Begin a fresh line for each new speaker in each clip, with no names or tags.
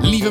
Lieve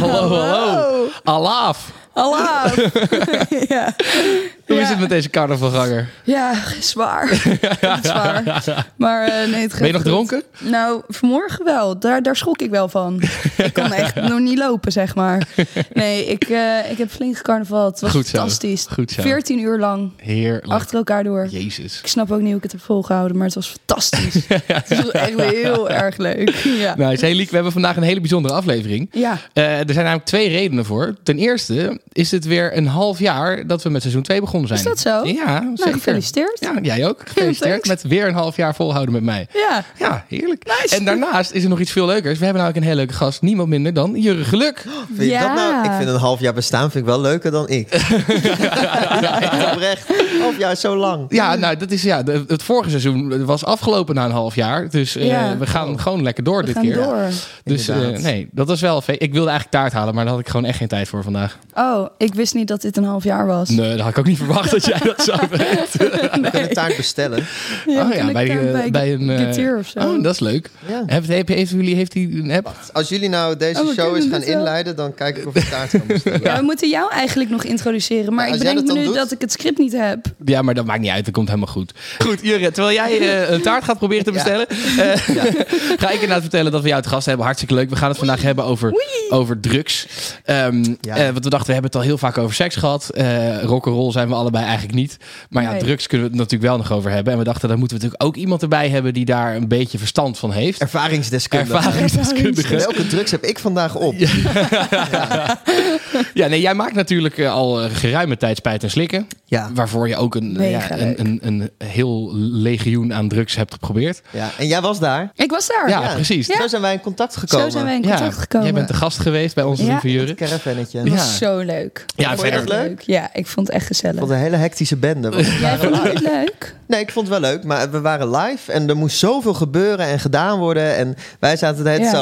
Hallo, hallo. Alaaf.
Hallo. ja.
Hoe
Ja.
is het met deze carnavalganger?
ja, zwaar. Echt zwaar. Maar eh, nee, het gaat
Ben je nog
goed.
dronken?
Nou, vanmorgen wel. Daar, daar schrok ik wel van. ik kon echt nog niet lopen, zeg maar. Nee, ik, eh, ik heb flink carnaval. Het was
Goed zo.
fantastisch.
Goed zo.
14 uur lang.
Heerlijk.
Achter elkaar door.
Jezus.
Ik snap ook niet hoe ik het heb volgehouden, maar het was fantastisch. het was echt heel erg leuk. Ja.
Nice. Hey Liek, we hebben vandaag een hele bijzondere aflevering.
ja.
Eh, er zijn namelijk twee redenen voor. Ten eerste is het weer een half jaar dat we met seizoen 2 begonnen zijn.
Is dat zo?
Ja,
Nou,
zeker.
gefeliciteerd.
Ja, jij ook. Gefeliciteerd
Thanks.
met weer een half jaar volhouden met mij.
Ja.
Ja, heerlijk.
Nice.
En daarnaast is er nog iets veel leukers. We hebben namelijk een hele leuke gast. Niemand minder dan Jurre Geluk.
Oh,
Vind je dat nou?
Ja.
Ik vind een half jaar bestaan vind ik wel leuker dan ik. ja, echt oprecht. Een half jaar is zo lang.
Ja, nou, dat is, ja, de- het vorige seizoen was afgelopen na een half jaar. Dus eh,
Ja. Oh.
we gaan gewoon lekker door
We
dit
gaan
keer.
door.
Dus eh,
Inderdaad.
nee, dat was wel... fe- Ik wilde eigenlijk taart halen, maar daar had ik gewoon echt geen tijd voor vandaag.
Oh, ik wist niet dat dit een half jaar was.
Nee, dat had ik ook niet verwacht dat jij dat zou
We kunnen taart bestellen.
Ja,
oh ja, bij,
ik,
eh,
eh,
bij, een... eh,
Geteer of zo.
Oh, dat is leuk.
Ja.
Heeft, heeft, heeft, jullie- heeft hij een app?
Als jullie nou deze
Oh, we
show eens
kunnen
gaan
dit wel.
inleiden, dan kijk ik of ik taart kan bestellen.
Ja, we moeten jou eigenlijk nog introduceren. Maar
Ja,
ik
als jij
bedenk me
dat
nu
dan doet?
dat ik het script niet heb.
Ja, maar dat maakt niet uit. Dat komt helemaal goed. Goed, Jurre, terwijl jij eh, een taart gaat proberen te
Ja.
bestellen... eh, ga ik inderdaad vertellen dat we jou te gast hebben. Hartstikke leuk. We gaan het vandaag hebben over, over drugs. Ehm,
Ja.
eh, want we dachten, we hebben het al heel vaak over seks gehad. Eh rock'n'roll zijn we allebei eigenlijk niet. Maar ja,
Nee.
drugs kunnen we het natuurlijk wel nog over hebben. En we dachten, daar moeten we natuurlijk ook iemand erbij hebben... die daar een beetje verstand van heeft.
Ervaringsdeskundige.
Ervaringsdeskundige.
Welke drugs heb ik vandaag op?
Ja, nee, jij maakt natuurlijk eh, al eh, geruime tijd spijt en slikken.
Ja.
Waarvoor je ook een, nou
Mega
ja,
leuk.
een, een, een heel legioen aan drugs hebt geprobeerd.
ja. En jij was daar.
Ik was daar.
Ja, precies.
Zo zijn wij in contact gekomen.
Zo zijn wij in
Ja,
contact gekomen.
Jij bent de gast geweest bij onze
Ja.
lieve Jurre.
Het caravannetje.
Het
Ja.
Ik
was zo leuk.
Ja,
Vond je
verder.
echt leuk?
Ja, ik vond het echt gezellig.
vond het een hele hectische bende. want we
Jij
waren
vond het
live.
niet leuk?
Nee, ik vond het wel leuk, maar we waren live en er moest zoveel gebeuren en gedaan worden. En wij zaten de hele tijd
Ja.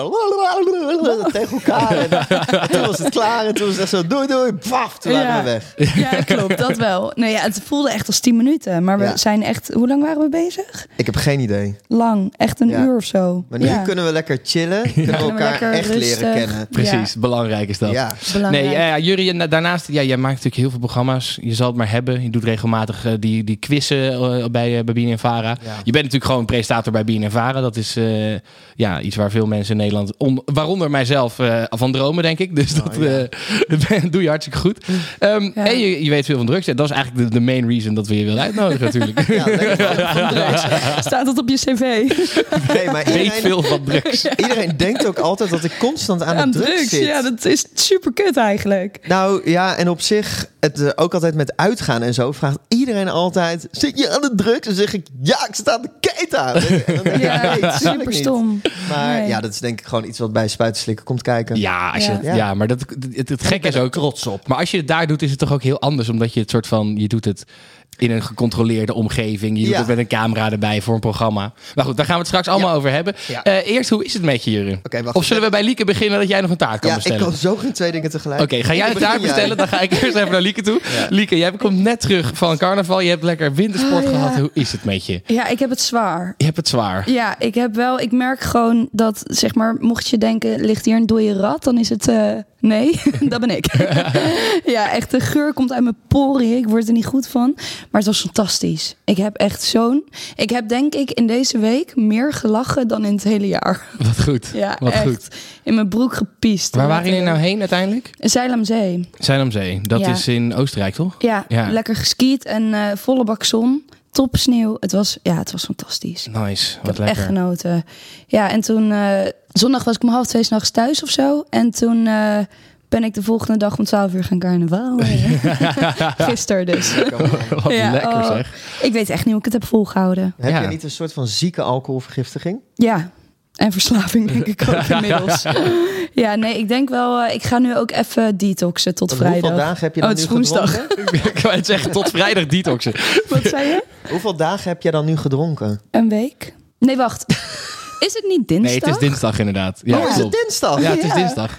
zo tegen elkaar. En toen was het klaar en toen was het echt zo doei doei, paf, toen waren
Ja.
we weg.
Ja, klopt. Dat wel. Nou ja, het voelde echt als tien minuten. Maar we
Ja.
zijn echt... Hoe lang waren we bezig?
Ik heb geen idee.
Lang. Echt een
Ja.
uur of zo.
Maar nu
ja.
kunnen we lekker chillen, kunnen we
Kunnen we
elkaar
lekker
echt leren
rustig.
kennen.
Precies, belangrijk is dat.
Ja.
Belangrijk.
Nee, ja, ja, Jurre, en daarnaast, ja, jij maakt natuurlijk heel veel programma's. Je zal het maar hebben. Je doet regelmatig eh, die, die quizzen eh, bij, eh, bij Bien en Vara.
Ja.
Je bent natuurlijk gewoon presentator bij Bien en Vara. Dat is eh, ja, iets waar veel mensen in Nederland, on- waaronder mijzelf, eh, van dromen, denk ik.
Oh,
Dus dat eh, doe je hartstikke goed. Ehm,
Ja.
En je, je weet veel van drugs. Ja, Dat is eigenlijk de, de main reason dat we je willen uitnodigen natuurlijk.
Ja, lekker.
Staat dat op je cv?
Nee, maar
weet
iedereen,
veel van drugs.
iedereen denkt ook altijd dat ik constant aan,
Aan
het druk
drugs.
zit.
Ja, dat is super kut eigenlijk.
Nou ja, en op zich, het, eh, ook altijd met uitgaan en zo, vraagt iedereen altijd: zit je aan de drugs? En zeg ik: ja, ik sta aan de keta. En dan denk ik,
Ja,
nee, tuurlijk
super
niet.
stom.
Maar
Nee.
ja, dat is denk ik gewoon iets wat bij spuitenslikken komt kijken.
Ja, als je, ja.
Ja.
maar dat, het, het gekke is ook...
trots op.
Maar als je het daar doet, is het toch ook heel anders. Omdat je het soort van, je doet het in een gecontroleerde omgeving. Je doet
Ja.
het met een camera erbij voor een programma. Maar goed, daar gaan we het straks allemaal over hebben.
Ja.
Eh, eerst, hoe is het met je, Jurre?
Oké, wacht.
of zullen we bij Lieke beginnen dat jij nog een taart kan
Ja, ik
bestellen?
kan zo geen twee dingen tegelijk.
Oké, ga jij een
Begin
taart bestellen? Dan ga ik eerst even naar Lieke toe. Lieke, jij komt net terug van carnaval. Je hebt lekker wintersport
Oh, ja.
gehad. Hoe is het met je?
Ja, ik heb het zwaar.
Je hebt het zwaar.
Ja, ik heb wel. Ik merk gewoon dat, zeg maar, mocht je denken, ligt hier een dode rat, dan is het. eh, nee, dat ben ik. ja, echt de geur komt uit mijn poriën. Ik word er niet goed van. Maar het was fantastisch. Ik heb echt zo'n. Ik heb denk ik in deze week meer gelachen dan in het hele jaar.
Wat goed.
Ja,
Wat
echt.
goed.
In mijn broek gepiest. eh,
Waar waren jullie nou heen uiteindelijk?
Zeil aan zee.
Zijn om zee. Dat
Ja.
is in Oostenrijk, toch?
Ja,
Ja.
lekker geskiet en eh, volle bak zon. Top sneeuw. Het was, ja, het was fantastisch.
Nice.
Ik
Wat
heb echt
lekker.
genoten. Ja, en toen... eh, zondag was ik om half twee s'nachts thuis of zo. En toen eh, ben ik de volgende dag om twaalf uur gaan carnaval. Gisteren dus.
Wat lekker
oh.
zeg.
Ik weet echt niet hoe ik het heb volgehouden.
Heb
Ja.
je niet een soort van zieke alcoholvergiftiging?
Ja, En verslaving denk ik ook inmiddels. ja, nee, ik denk wel... eh, ik ga nu ook even detoxen tot
Hoeveel
vrijdag.
dagen heb je
Oh,
dan
het
nu
is woensdag.
gedronken?
ik wou het zeggen, tot vrijdag detoxen.
Wat zei je?
Hoeveel dagen heb je dan nu gedronken?
Een week? Nee, wacht. Is het niet dinsdag?
Nee, het is dinsdag inderdaad. Ja,
oh, is het
klopt.
dinsdag?
Ja, het is
Ja.
dinsdag.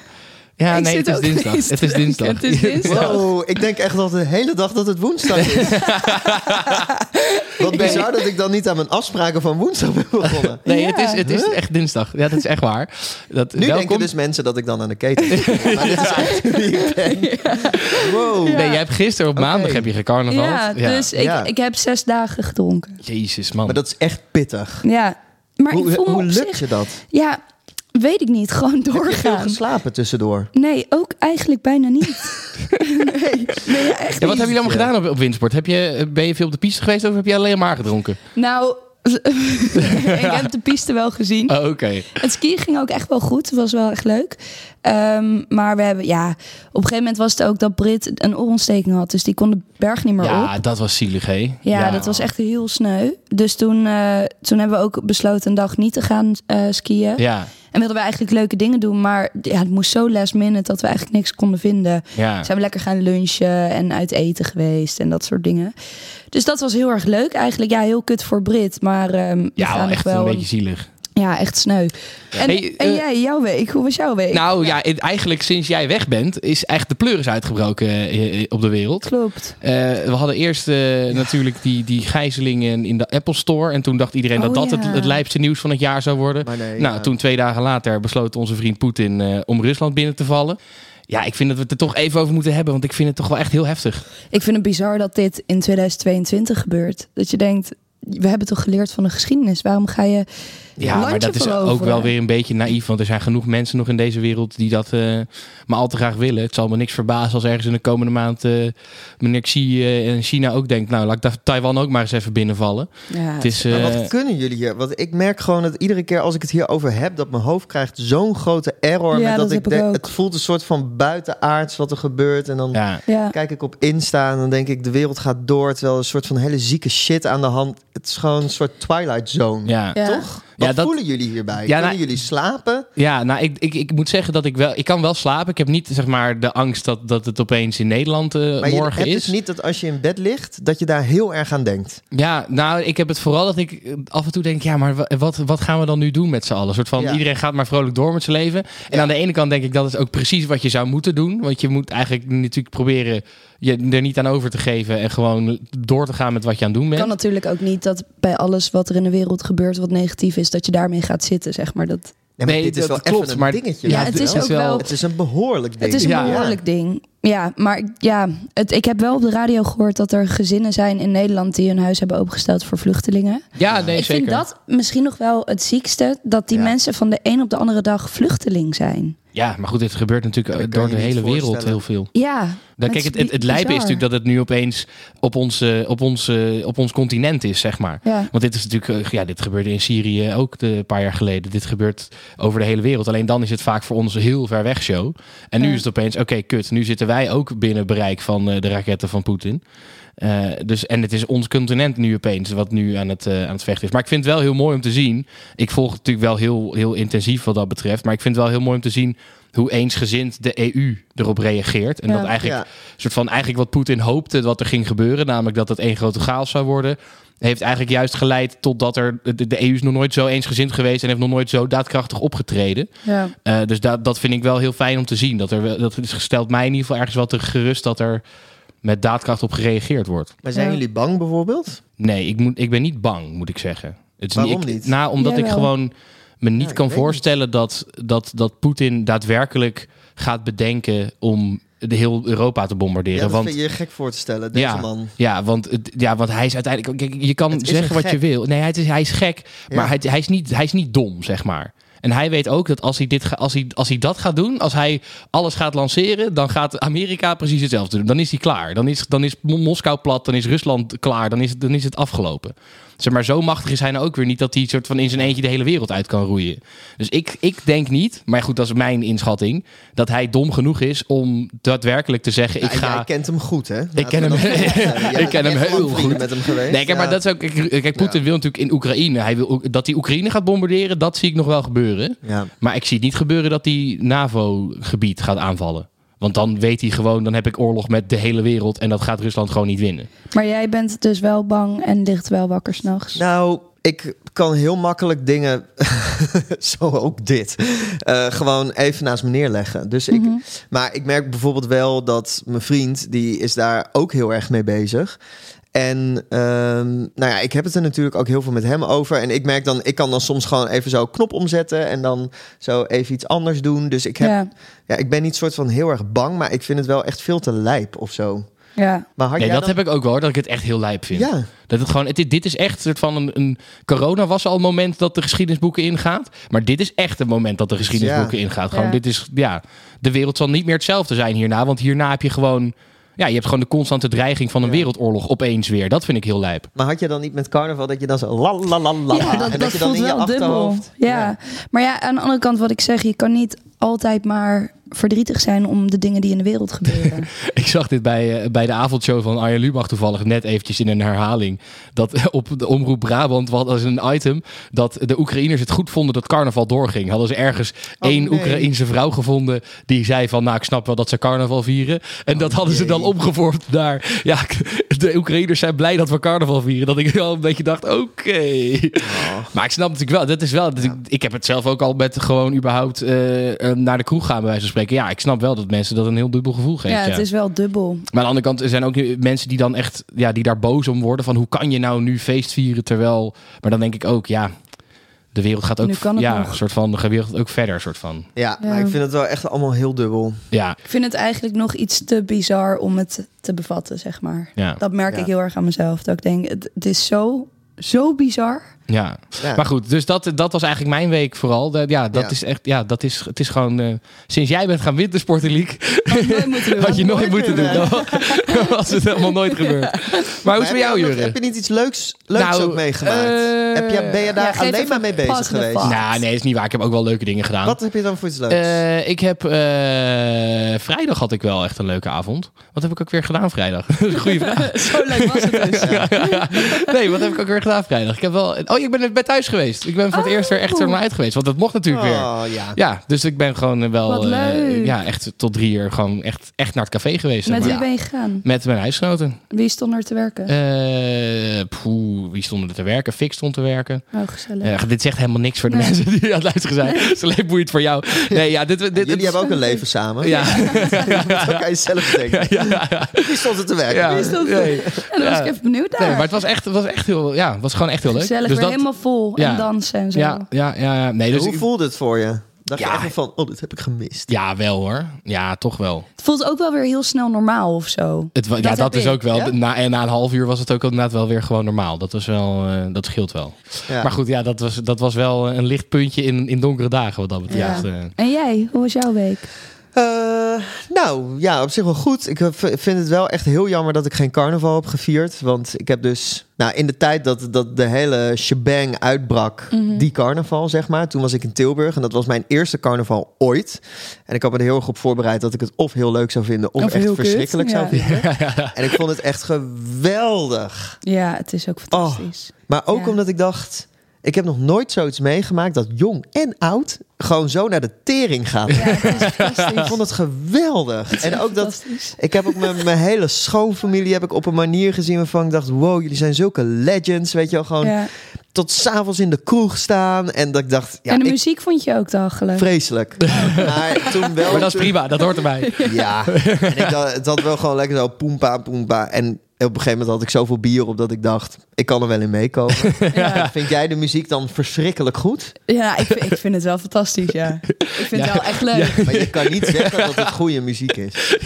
Ja,
Ik
nee,
zit
het is
ook ineens
dinsdag.
te
Het is
denken,
dinsdag.
het is dinsdag.
Wow, ik denk echt dat de hele dag dat het woensdag is. Wat bizar dat ik dan niet aan mijn afspraken van woensdag ben begonnen.
Nee,
Ja.
het, is, het is echt dinsdag. Ja, dat is echt waar. Dat,
Nu
welkom.
denken dus mensen dat ik dan aan de keten ben. Maar dit is echt wie ik ben. Wow.
Nee, jij hebt gisteren op maandag heb je gecarnaval.
Ja, dus Ik,
Ja.
ik heb zes dagen gedronken.
Jezus, man.
Maar dat is echt pittig.
Ja, maar ik
Hoe,
voel me
hoe
op
lukt
zich...
je dat?
Ja, weet ik niet. Gewoon
Heb je veel
doorgaan.
geslapen tussendoor?
Nee, ook eigenlijk bijna niet. nee, nee, ja, echt
ja, wat
niet.
hebben jullie allemaal gedaan op, op windsport? Heb je, ben je veel op de piste geweest of heb je alleen maar gedronken?
Nou, ik heb de piste wel gezien.
Oh, Oké.
Het skiën ging ook echt wel goed. Het was wel echt leuk. Ehm, maar we hebben, ja, op een gegeven moment was het ook dat Brit een oorontsteking had. Dus die kon de berg niet meer op.
Ja, dat was zielig, hè?
Ja, dat was echt heel sneu. Dus toen, eh, toen hebben we ook besloten een dag niet te gaan eh, skiën.
Ja,
En wilden we eigenlijk leuke dingen doen. Maar ja, het moest zo last minute dat we eigenlijk niks konden vinden.
ja.
Zijn we lekker gaan lunchen en uit eten geweest en dat soort dingen. Dus dat was heel erg leuk eigenlijk. Ja, heel kut voor Brit, maar ehm we
Ja,
gaan nog
wel echt
wel
een
een-
beetje zielig.
Ja, echt sneu. En,
Hey,
en
eh,
jij, jouw week, hoe was jouw week?
Nou ja, het- eigenlijk sinds jij weg bent is echt de pleuris uitgebroken eh, eh, op de wereld.
Klopt.
Eh, we hadden eerst eh, natuurlijk die, die gijzelingen in de Apple Store. En toen dacht iedereen dat
Oh,
dat
ja.
het, het lijpste nieuws van het jaar zou worden.
Maar nee, eh,
nou,
ja.
toen twee dagen later besloot onze vriend Poetin eh, om Rusland binnen te vallen. Ja, ik vind dat we het er toch even over moeten hebben, want ik vind het toch wel echt heel heftig.
Ik vind het bizar dat dit in 2022 gebeurt. Dat je denkt, we hebben toch geleerd van de geschiedenis. Waarom ga je
Ja,
landje
maar dat is
veroveren?
ook wel weer een beetje naïef, want er zijn genoeg mensen nog in deze wereld die dat eh, maar al te graag willen. Het zal me niks verbazen als ergens in de komende maand eh, meneer Xi eh, in China ook denkt, nou, laat ik daar Taiwan ook maar eens even binnenvallen.
Ja,
Het is,
Maar
eh,
wat kunnen jullie hier? Want ik merk gewoon dat iedere keer als ik het hierover heb, dat mijn hoofd krijgt zo'n grote error.
Ja,
met dat
dat
ik
heb ik
denk,
ook.
het voelt een soort van buitenaards wat er gebeurt. En dan
ja.
ja.
kijk ik op Insta en dan denk ik, de wereld gaat door. Terwijl er een soort van hele zieke shit aan de hand. Het is gewoon een soort Twilight Zone.
Ja.
Ja.
Toch? Wat
Ja, dat-
voelen jullie hierbij?
Ja,
kunnen
nou-
jullie slapen?
Ja, nou, ik, ik, ik moet zeggen dat ik wel... Ik kan wel slapen. Ik heb niet, zeg maar, de angst dat, dat het opeens in Nederland eh,
Maar je
morgen
hebt
is.
dus niet dat als je in bed ligt, dat je daar heel erg aan denkt.
Ja, nou, ik heb het vooral dat ik eh, af en toe denk... Ja, maar wa- wat, wat gaan we dan nu doen met z'n allen? Een soort van,
Ja.
iedereen gaat maar vrolijk door met zijn leven. En aan de ene kant denk ik, dat is ook precies wat je zou moeten doen. Want je moet eigenlijk natuurlijk proberen je er niet aan over te geven... en gewoon door te gaan met wat je aan het doen bent.
kan natuurlijk ook niet dat bij alles wat er in de wereld gebeurt wat negatief is, dat je daarmee gaat zitten, zeg maar. Dat,
Nee, maar
Nee,
dit is
dat
wel
klopt,
even een
maar-
dingetje.
Ja,
weet
het
je
is
wel.
ook wel-
Het is een behoorlijk ding.
het is een
Ja.
behoorlijk ding. Ja, maar ik- ja, het, ik heb wel op de radio gehoord dat er gezinnen zijn in Nederland die hun huis hebben opengesteld voor vluchtelingen.
Ja, nee,
ik
zeker.
vind dat misschien nog wel het ziekste, dat die
Ja.
mensen van de een op de andere dag vluchteling zijn.
Ja, maar goed, dit gebeurt natuurlijk
Ja,
eh,
dat kan
door
je
de
niet
hele wereld
voorstellen.
heel veel.
Ja,
Dan, kijk,
Het is
het, het, het
bi-
lijpen is
bizar.
natuurlijk dat het nu opeens op ons, eh, op ons, eh, op ons continent is, zeg maar.
ja.
Want dit is natuurlijk, eh, ja, dit gebeurde in Syrië ook de, een paar jaar geleden. Dit gebeurt over de hele wereld. Alleen dan is het vaak voor ons een heel ver weg show. En nu
Ja.
is het opeens, oké, kut. Nu zitten wij ook binnen bereik van eh, de raketten van Poetin. Eh, dus, en het is ons continent nu opeens, wat nu aan het, eh, aan het vechten is. Maar ik vind het wel heel mooi om te zien. Ik volg het natuurlijk wel heel, heel intensief wat dat betreft. Maar ik vind het wel heel mooi om te zien hoe eensgezind de EU erop reageert. En
Ja.
dat eigenlijk
Ja.
een soort van eigenlijk wat Poetin hoopte wat er ging gebeuren, namelijk dat het één grote chaos zou worden, heeft eigenlijk juist geleid totdat er de, de EU is nog nooit zo eensgezind geweest en heeft nog nooit zo daadkrachtig opgetreden.
ja.
Eh, dus dat, dat vind ik wel heel fijn om te zien. Dat er wel- dat is gesteld mij in ieder geval ergens wel te gerust dat er met daadkracht op gereageerd wordt.
Maar zijn
Ja.
jullie bang bijvoorbeeld?
Nee, ik, moet, ik ben niet bang, moet ik zeggen. Het is
Waarom
ik-
niet?
Nou, omdat ik
Jawel.
gewoon me niet kan
ik weet niet.
voorstellen dat, dat, dat Poetin daadwerkelijk gaat bedenken om de heel Europa te bombarderen.
Ja, dat
want
vind je gek voor te stellen, eh, deze man.
ja, want, het- ja, want hij is uiteindelijk... Kijk, je kan
Het is
zeggen
een
wat je
gek.
wil. Nee, hij is, hij is gek,
Ja.
maar hij, hij, is niet, hij is niet dom, zeg maar. En hij weet ook dat als hij, dit ga- als, hij, als hij dat gaat doen, als hij alles gaat lanceren, dan gaat Amerika precies hetzelfde doen. Dan is hij klaar. Dan is, dan is Mo- Moskou plat, dan is Rusland klaar, dan is, dan is het afgelopen. Zeg maar, zo machtig is hij nou ook weer niet dat hij soort van in zijn eentje de hele wereld uit kan roeien. Dus ik, ik denk niet, maar goed, dat is mijn inschatting, dat hij dom genoeg is om daadwerkelijk te zeggen, ik
Ja,
ga...
Nou, Jij kent hem goed, hè? Laten
ken
we
hem-
dat voorstellen. Jij bent
ken hem
echt lang
heel
vrienden
goed.
met hem geweest.
Nee, kijk, maar
eh, Ja.
dat is ook. Kijk, Poetin wil natuurlijk in Oekraïne. Hij wil ook- dat hij Oekraïne gaat bombarderen. Dat zie ik nog wel gebeuren. gebeuren.
Ja.
Maar ik zie het niet gebeuren dat die NAVO-gebied gaat aanvallen. Want dan weet hij gewoon, dan heb ik oorlog met de hele wereld. En dat gaat Rusland gewoon niet winnen.
Maar jij bent dus wel bang en ligt wel wakker s'nachts.
Nou, ik kan heel makkelijk dingen, zo ook dit, eh, gewoon even naast me neerleggen. Dus ik, Maar ik merk bijvoorbeeld wel dat mijn vriend, die is daar ook heel erg mee bezig. En ehm, nou ja, ik heb het er natuurlijk ook heel veel met hem over. En ik merk dan, ik kan dan soms gewoon even zo knop omzetten en dan zo even iets anders doen. Dus ik, heb, ja.
Ja,
ik ben niet soort van heel erg bang, maar ik vind het wel echt veel te lijp of zo.
ja.
Maar had
Nee,
jij
dat heb ik ook wel, hoor, dat ik het echt heel lijp vind.
Ja.
Dat het gewoon, het, dit is echt een soort van een, een... Corona was al een moment dat de geschiedenisboeken ingaat. Maar dit is echt een moment dat de geschiedenisboeken ingaat. Gewoon,
Ja.
dit is, ja, de wereld zal niet meer hetzelfde zijn hierna. Want hierna heb je gewoon, ja, je hebt gewoon de constante dreiging van een
Ja.
wereldoorlog opeens weer. Dat vind ik heel lijp.
Maar had je dan niet met carnaval dat je dan zo la la la la
Ja,
en
dat,
dat,
dat
je dan
voelt
in je
wel dubbel.
achterhoofd...
Ja. maar ja, aan de andere kant wat ik zeg, je kan niet altijd maar verdrietig zijn om de dingen die in de wereld gebeuren.
Ik zag dit bij, eh, bij de avondshow van Arjen Lubach toevallig net eventjes in een herhaling. Dat eh, op de Omroep Brabant wat als een item dat de Oekraïners het goed vonden dat carnaval doorging. Hadden ze ergens
Oh,
één
nee.
Oekraïense vrouw gevonden die zei van nou ik snap wel dat ze carnaval vieren. En dat hadden ze
Oh, jee.
dan omgevormd naar ja k- de Oekraïners zijn blij dat we carnaval vieren. Dat ik wel een beetje dacht oké.
Oh.
Maar ik snap natuurlijk wel, dat is wel. dat ik, ik heb het zelf ook al met gewoon überhaupt eh, eh, naar de kroeg gaan bij wijze van spreken. Ja, ik snap wel dat mensen dat een heel dubbel gevoel geeft.
ja, het is wel dubbel.
Maar aan de andere kant er zijn ook nu mensen die dan echt ja, die daar boos om worden. Van hoe kan je nou nu feest vieren terwijl. Maar dan denk ik ook, ja, de wereld gaat ook.
Nu kan het
ja,
nog.
een soort van. De wereld ook verder, soort van.
Ja,
Ja.
maar ik vind het wel echt allemaal heel dubbel.
Ja,
Ik vind het eigenlijk nog iets te bizar om het te bevatten, zeg maar.
ja,
Dat merk
Ja.
ik heel erg aan mezelf. Dat ik denk, het, het is zo, zo bizar.
ja.
Ja.
Maar goed, dus dat, dat was eigenlijk mijn week vooral. Dat- ja, dat
Ja.
is echt. Ja, dat is, het is gewoon. eh, sinds jij bent gaan wintersporten, League,
Had ik nooit moeten doen.
had je nooit
nooit
moeten doen.
meer,
Dan was het helemaal nooit gebeurd. Maar hoe is het bij
Maar heb
jou,
je ook nog- Heb
Jure?
je niet iets leuks, leuks
Nou,
ook meegemaakt?
eh,
heb je, ben je daar
Ja, geef
alleen
even
maar mee bezig
passende
geweest?
vast.
Nou, nee, is niet waar. Ik heb ook wel leuke dingen gedaan.
Wat heb je dan voor iets leuks?
Eh, ik heb eh, vrijdag had ik wel echt een leuke avond. Wat heb ik ook weer gedaan vrijdag? Goeie vraag.
Zo leuk was het dus.
Nee, wat heb ik ook weer gedaan vrijdag? Ik heb wel. Oh, ik ben net bij thuis geweest. Ik ben voor
Oh.
het eerst weer echt zomaar uit geweest, want dat mocht natuurlijk weer.
oh, ja.
Ja, dus ik ben gewoon eh, wel.
Ah. Wat
eh,
leuk.
ja, echt tot drie uur gewoon echt, echt naar het café geweest. zeg
Met
maar.
wie ben je gegaan?
Met mijn huisgenoten.
Wie stond er te werken?
Eh, poeh, wie stonden er te werken? Fik stond te werken.
oh, gezellig.
Eh, dit zegt helemaal niks voor de
Nee.
mensen die aan het luisteren zijn. Het is alleen boeiend voor jou. Nee, ja, dit, dit,
Jullie
dit-
hebben ook een leven samen.
Ja.
Dat kan je zelf denken.
ja, ja.
Wie stond er te werken?
Ja,
Wie is-
nee.
en dan was
ja.
ik even benieuwd daar.
Nee, maar het was echt, het was echt heel, ja, het was gewoon echt heel leuk.
Gezellig,
dus
weer
dat,
helemaal vol
Ja.
en dansen en zo.
ja, ja, ja, ja, nee, dus
Hoe
ik-
voelde het voor je? Dacht
Ja.
je echt wel van, oh, dit heb ik gemist.
ja, wel hoor, ja, toch wel.
Het voelt ook wel weer heel snel normaal of zo.
Het, wa- ja,
heb
dat is
ik.
ook wel.
Ja?
Na, en na een half uur was het ook inderdaad wel weer gewoon normaal. Dat was wel, eh, dat scheelt wel.
Ja.
Maar goed, ja, dat was, dat was wel een licht puntje in, in donkere dagen wat dat betreft.
Ja.
Eh,
En jij, hoe was jouw week?
Eh, nou, ja, op zich wel goed. Ik eh, v- vind het wel echt heel jammer dat ik geen carnaval heb gevierd. Want ik heb dus... Nou, in de tijd dat, dat de hele shebang uitbrak,
Mhm.
die carnaval, zeg maar. Toen was ik in Tilburg en dat was mijn eerste carnaval ooit. En ik had me er heel erg op voorbereid dat ik het of heel leuk zou vinden... of,
Of heel
echt
kut,
verschrikkelijk zou
ja.
vinden. En ik vond het echt geweldig.
Ja, het is
Oh.
ook fantastisch.
Maar ook
Ja.
omdat ik dacht... Ik heb nog nooit zoiets meegemaakt dat jong en oud... gewoon zo naar de tering gaat.
Ja, het is
Ik
fantastisch.
vond het geweldig. En ook dat...
Fantastisch.
Ik heb ook mijn, mijn hele schoonfamilie heb ik op een manier gezien waarvan ik dacht: wow, jullie zijn zulke legends. Weet je wel, gewoon
Ja.
tot s'avonds in de kroeg staan. En dat ik dacht: ja,
en de
ik,
muziek vond je ook dagelijks.
vreselijk. maar toen wel.
maar dat is
toen-
prima, dat hoort erbij.
Ja, en ik dacht, het had wel gewoon lekker zo poempa, poempa. En op een gegeven moment had ik zoveel bier op dat ik dacht: ik kan er wel in meekomen.
Ja.
Vind jij de muziek dan verschrikkelijk goed?
Ja, ik, vind- ik vind het wel fantastisch, ja. Ik vind het wel echt leuk.
Maar je kan niet zeggen dat het goede muziek is.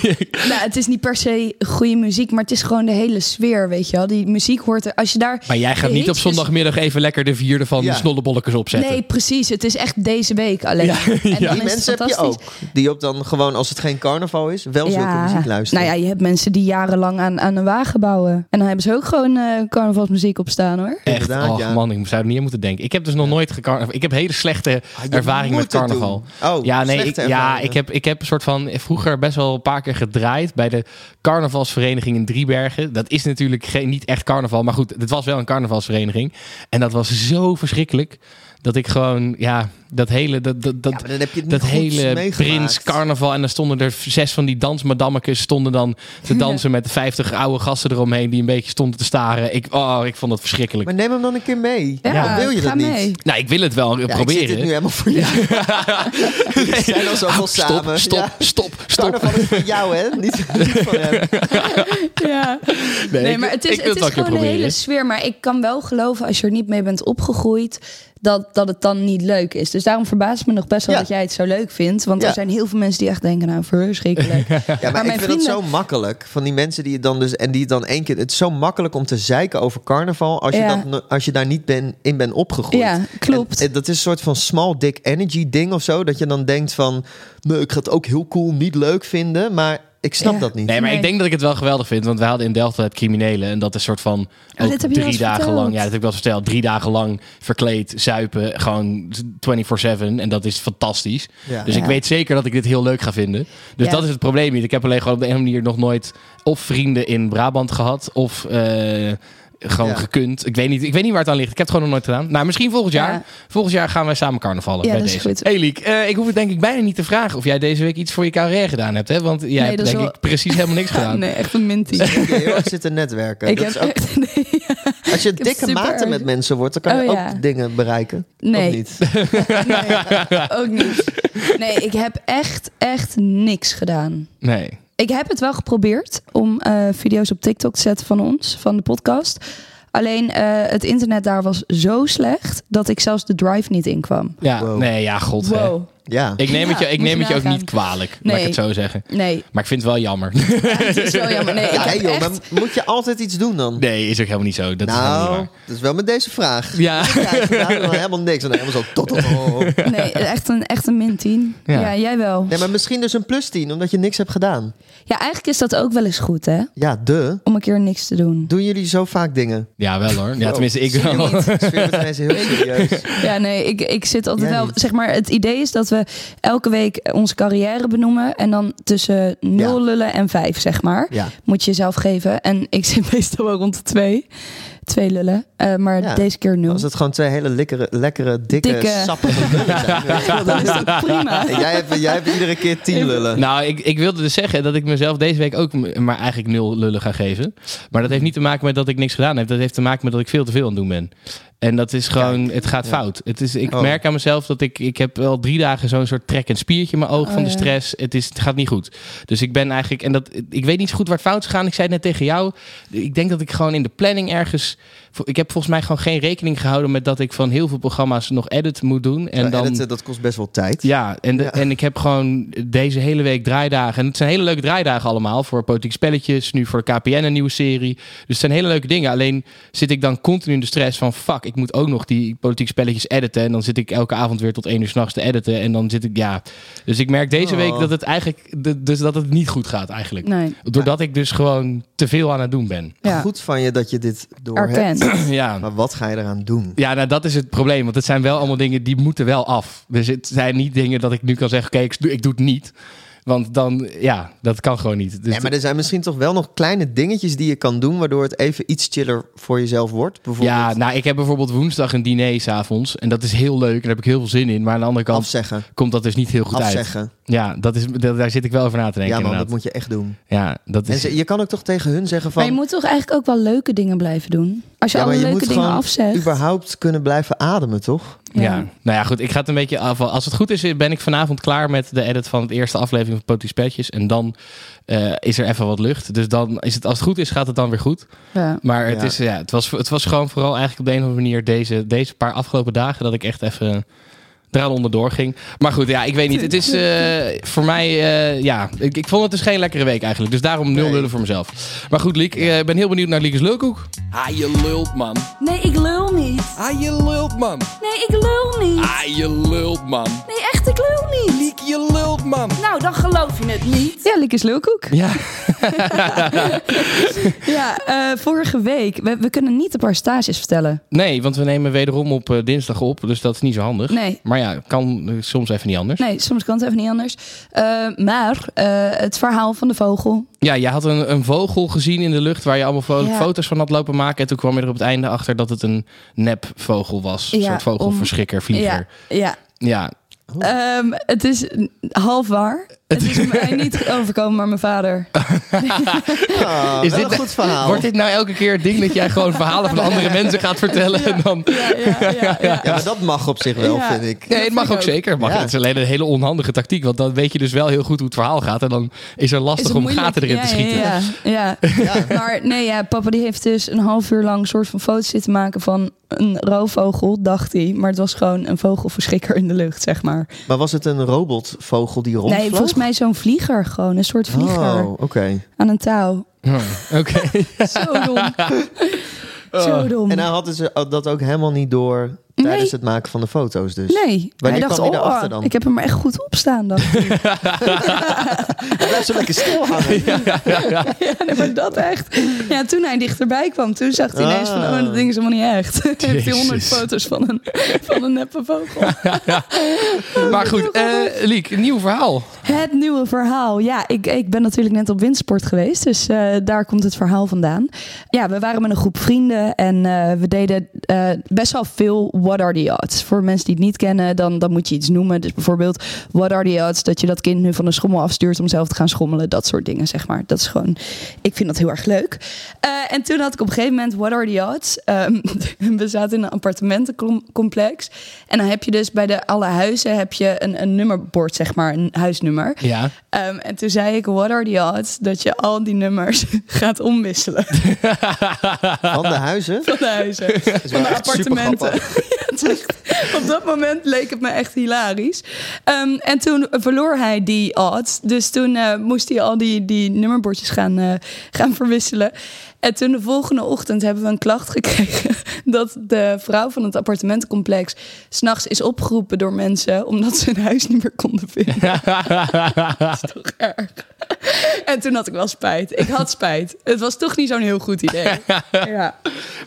Nou, het is niet per se goede muziek, maar het is gewoon de hele sfeer, weet je wel. Die muziek hoort er... Als je daar...
Maar jij gaat
de
niet op
hitjes-
zondagmiddag even lekker de vierde van
Ja.
de snollebolletjes opzetten.
Nee, precies. Het is echt deze week alleen. En dan is
Die
het
mensen heb je
fantastisch.
ook. Die op dan gewoon, als het geen carnaval is, wel zulke muziek luisteren.
Nou ja, je hebt mensen die jarenlang aan, aan een wagen bouwen. En dan hebben ze ook gewoon eh, carnavalsmuziek op staan hoor.
Echt,
Inderdaad,
oh
ja.
man, ik zou er niet aan moeten denken. Ik heb dus nog nooit gecarnaval. Ik heb hele slechte
Ah, je
ervaring
moet
met
het
carnaval.
doen. Oh,
ja, nee, ik,
slechte
ja,
ervaringen.
ik heb, ik heb een soort van vroeger best wel een paar keer gedraaid bij de carnavalsvereniging in Driebergen. Dat is natuurlijk geen, niet echt carnaval, maar goed, het was wel een carnavalsvereniging. En dat was zo verschrikkelijk dat ik gewoon, ja, Dat hele, dat, dat, dat,
Ja, maar dan heb je het niet
dat
goed
hele
meegemaakt.
prins carnaval. En dan stonden er zes van die dansmadammekes stonden dan te dansen met vijftig oude gasten eromheen die een beetje stonden te staren. Ik, oh, ik vond dat verschrikkelijk.
Maar neem hem dan een keer mee. Dan wil je
ga
dat niet.
mee.
Nou, ik wil het wel
Ja, ik zit
proberen.
dit nu helemaal voor jou. We zijn al zoveel
Ah, stop,
samen.
Stop,
Ja.
stop, stop.
Carnaval is van jou, hè? Niet niet van hem.
Ja. Nee,
ik-
maar het
ik
is,
wil het wel
het is
een keer
gewoon een hele
proberen.
sfeer. Maar ik kan wel geloven, als je er niet mee bent opgegroeid, dat, dat het dan niet leuk is. Dus daarom verbaast het me nog best wel
Ja.
dat jij het zo leuk vindt. Want
Ja.
er zijn heel veel mensen die echt denken, nou, verschrikkelijk.
Ja, maar,
Maar
ik
mijn
vind dat zo
vrienden-
makkelijk. Van die mensen die het dan dus. En die het dan één keer. Het is zo makkelijk om te zeiken over carnaval. Als,
Ja.
je, dan, als je daar niet ben, in bent opgegroeid.
ja, klopt.
En, en dat is een soort van small dick energy ding of zo. Dat je dan denkt van. Nee, ik ga het ook heel cool niet leuk vinden. Maar ik snap
Ja.
dat niet.
Nee, maar
Nee.
ik denk dat ik het wel geweldig vind. Want wij hadden in Delft het criminelen. En dat is soort van
dit
ook
heb je
drie
wel eens
dagen
verteld.
lang. Ja, dat heb ik wel eens verteld. Drie dagen lang verkleed, zuipen. Gewoon 24-7. En dat is fantastisch.
Ja.
Dus
Ja.
ik weet zeker dat ik dit heel leuk ga vinden. Dus
Ja.
dat is het probleem niet. Ik heb alleen gewoon op de een of andere manier nog nooit... of vrienden in Brabant gehad. Of... eh, gewoon
Ja.
gekund. Ik weet, niet, ik weet niet waar het aan ligt. Ik heb het gewoon nog nooit gedaan. Nou, misschien volgend jaar.
Ja.
Volgend jaar gaan wij samen carnavallen.
Ja,
bij
dat is
deze.
goed.
Hey Liek, eh, ik hoef het denk ik bijna niet te vragen of jij deze week iets voor je carrière gedaan hebt. Hè? Want jij hebt
dat is
denk
wel-
ik precies helemaal niks gedaan.
Nee, echt een mintie.
Ik heb heel erg zitten netwerken.
ik
Dat
heb
is ook-
echt... Nee,
als je
heb
dikke
super
maten
erg-
met mensen wordt, dan kan
Oh,
je ook
ja.
dingen bereiken.
Nee.
Of niet?
nee, ook niet. Nee, ik heb echt, echt niks gedaan.
Nee.
Ik heb het wel geprobeerd om eh, video's op TikTok te zetten van ons, van de podcast. Alleen eh, het internet daar was zo slecht dat ik zelfs de drive niet inkwam.
Ja,
Wow.
nee, ja, god. hè.
Wow.
Ja.
Ik neem het je,
Ja,
ik
moet
neem
je
het je ook
nagaan.
niet kwalijk, laat
Nee.
ik het zo zeggen.
Nee,
Maar ik vind het wel jammer.
het is wel jammer. Nee, ik
Ja,
heb
hey, joh,
echt-
maar moet je altijd iets doen dan?
Nee, is ook helemaal niet zo. Dat is helemaal
nou,
niet waar.
dat is wel met deze vraag.
Ja.
Ja, ik heb daar dan helemaal niks. En dan helemaal zo tot tot- oh.
nee, echt een, echt een min 10. Ja.
Ja.
jij wel.
Nee, maar misschien dus een plus 10, omdat je niks hebt gedaan.
Ja, eigenlijk is dat ook wel eens goed, hè?
Ja, de.
Om een keer niks te doen.
Doen jullie zo vaak dingen?
Ja, wel hoor. Ja,
Wow.
tenminste, ik
Zie je
wel.
niet? Ik zweer het mensen heel serieus.
Ja, nee, ik, ik zit altijd
Jij
wel...
niet.
Zeg maar, het idee is dat we elke week onze carrière benoemen... en dan tussen 0
Ja.
lullen en 5, zeg maar.
Ja.
Moet je jezelf geven. En ik zit meestal wel rond de 2. 2 lullen. Eh, maar
Ja.
deze keer 0.
Als het gewoon twee hele lekkere, lekkere dikke,
Dikke.
sappige lullen zijn. weet je wel, dan
Dat
is
is
het-
toch prima?
En jij, hebt, jij hebt iedere keer 10 lullen.
Nou, ik, ik wilde dus zeggen dat ik mezelf deze week ook m- maar eigenlijk nul lullen ga geven. Maar dat heeft niet te maken met dat ik niks gedaan heb. Dat heeft te maken met dat ik veel te veel aan het doen ben. En dat is gewoon, het gaat fout. Het is, ik
Oh.
merk aan mezelf dat ik, ik heb wel drie dagen zo'n soort trek en spiertje in mijn oog
Oh,
van de
ja.
stress. Het, is, het gaat niet goed. Dus ik ben eigenlijk, en dat, ik weet niet zo goed waar het fout is gegaan. Ik zei het net tegen jou, ik denk dat ik gewoon in de planning ergens, ik heb volgens mij gewoon geen rekening gehouden met dat ik van heel veel programma's nog edit moet doen. En
En
dan,
dat, eh, dat kost best wel tijd.
ja, en, de- en ik heb gewoon deze hele week draaidagen. En het zijn hele leuke draaidagen allemaal. Voor politiek spelletjes, nu voor KPN een nieuwe serie. Dus het zijn hele leuke dingen. Alleen zit ik dan continu in de stress van... fuck, ik moet ook nog die politiek spelletjes editen. En dan zit ik elke avond weer tot één uur s'nachts te editen. En dan zit ik, ja... Dus ik merk deze
Oh.
week dat het eigenlijk... de- Dus dat het niet goed gaat eigenlijk.
Nee,
Doordat ik dus gewoon te veel aan het doen ben.
ja.
Goed van je dat je dit door hebt.
Erkend.
Ja.
Maar wat ga je eraan doen?
Ja, nou dat is het probleem. Want het zijn wel allemaal dingen die moeten wel af. Dus het zijn niet dingen dat ik nu kan zeggen, oké, ik, doe- ik doe het niet. Want dan, ja, dat kan gewoon niet. Dus
Ja, maar er zijn misschien toch wel nog kleine dingetjes die je kan doen... waardoor het even iets chiller voor jezelf wordt. Bijvoorbeeld
ja, nou, ik heb bijvoorbeeld woensdag een diner s'avonds. En dat is heel leuk. En daar heb ik heel veel zin in. Maar aan de andere kant
afzeggen.
komt dat dus niet heel goed uit.
Afzeggen.
Ja, dat is, dat- daar zit ik wel over na te denken.
ja, man, dat
inderdaad.
moet je echt doen.
Ja, dat
En
is.
ze- je kan ook toch tegen hun zeggen van...
Maar je moet toch eigenlijk ook wel leuke dingen blijven doen? Als je
ja, maar
alle
je
leuke
moet
dingen
gewoon
afzegt.
überhaupt kunnen blijven ademen, toch?
Ja. nou ja, goed. Ik ga het een beetje af. Als het goed is, ben ik vanavond klaar met de edit van het eerste aflevering van Potie Spelletjes. En dan eh, is er even wat lucht. Dus dan is het, als het goed is, gaat het dan weer goed.
Ja.
Maar het,
Ja.
Is, ja, het, was, het was gewoon vooral eigenlijk op de een of andere manier deze, deze paar afgelopen dagen dat ik echt even eraan onderdoor ging. Maar goed, ja, ik weet niet. Het is eh, voor mij, eh, ja, ik, ik vond het dus geen lekkere week eigenlijk. Dus daarom nul
Nee.
lullen voor mezelf. Maar goed, Liek, eh, ik ben heel benieuwd naar Liekes lulkoek.
Ah, je lult, man.
Nee, ik lul niet.
Ah, je lult, man.
Nee, ik lul niet.
Ah, je lult, man.
Nee, echt, ik lul niet.
Liek, je lult, man.
Nou, dan geloof je het niet.
Ja, Liek is lulkoek.
Ja.
Ja, eh, vorige week. We, we kunnen niet de paar stages vertellen.
Nee, want we nemen wederom op eh, dinsdag op, dus dat is niet zo handig.
Nee.
Maar ja, kan eh, soms even niet anders.
Nee, soms kan het even niet anders. Eh, maar eh, het verhaal van de vogel.
Ja, jij had een, een vogel gezien in de lucht waar je allemaal vo-
Ja.
foto's van had lopen maken. En toen kwam je er op het einde achter dat het een nepvogel was. Een
Ja,
soort
om-
vogelverschrikker, vlieger.
Ja, ja.
Ja,
Ehm, het is half waar. Het is mij niet overkomen, maar mijn vader.
Ah,
Is
wel
dit-
een goed verhaal.
Wordt dit nou elke keer het ding dat jij gewoon verhalen van andere mensen gaat vertellen? En dan...
Ja, ja, ja, ja.
Ja, maar dat mag op zich wel,
Ja.
vind ik.
Nee, het mag ook zeker. Mag.
Ja.
Het is alleen een hele onhandige tactiek. Want dan weet je dus wel heel goed hoe het verhaal gaat. En dan is er lastig
Is het
om
moeilijk?
gaten erin
Ja,
te schieten.
Ja, ja, ja. Maar nee, ja, papa die heeft dus een half uur lang een soort van foto's zitten maken van een roofvogel, dacht hij. Maar het was gewoon een vogelverschrikker in de lucht, zeg maar.
Maar was het een robotvogel die rondvloog?
Nee, volgens mij zo'n vlieger gewoon. Een soort vlieger
Oh, oké.
aan een touw.
Hm, Oké.
Zo dom. Zo dom.
En hij had dus dat ook helemaal niet door tijdens
Nee.
het maken van de foto's dus.
Nee,
Wanneer
hij dacht,
kwam hij
oh,
erachter dan?
ik heb hem er echt goed op staan. dacht ik.
Hij blijft zo lekker stil hangen.
ja, nee, maar dat echt. Ja, toen hij dichterbij kwam, toen zag hij ineens van,
Ah.
oh, dat ding is helemaal niet echt. Hij heeft hij honderd
Jezus.
foto's van een, van een neppe vogel.
Maar goed, eh Liek, een nieuw verhaal.
Het nieuwe verhaal. Ja, ik, ik ben natuurlijk net op windsport geweest, dus eh, daar komt het verhaal vandaan. Ja, we waren met een groep vrienden en eh, we deden eh, best wel veel What Are The Odds. Voor mensen die het niet kennen, dan, dan moet je iets noemen. Dus bijvoorbeeld What Are The Odds, dat je dat kind nu van de schommel afstuurt om zelf te gaan schommelen. Dat soort dingen, zeg maar. Dat is gewoon, ik vind dat heel erg leuk. Eh, en toen had ik op een gegeven moment What Are The Odds. Ehm, we zaten in een appartementencomplex en dan heb je dus bij de alle huizen heb je een, een nummerbord, zeg maar, een huisnummer.
Ja.
Ehm, en toen zei ik, what are the odds dat je al die nummers gaat omwisselen
Van de huizen.
van de huizen,
is
van
wel
de
echt
appartementen.
supergrappig.
Ja, het is echt- op dat moment leek het me echt hilarisch. Ehm, en toen verloor hij die odds. Dus toen eh, moest hij al die, die nummerbordjes gaan, eh, gaan verwisselen. En toen de volgende ochtend hebben we een klacht gekregen... dat de vrouw van het appartementencomplex... s'nachts is opgeroepen door mensen... omdat ze hun huis niet meer konden vinden. erg. En toen had ik wel spijt. Ik had spijt. Het was toch niet zo'n heel goed idee. Ja.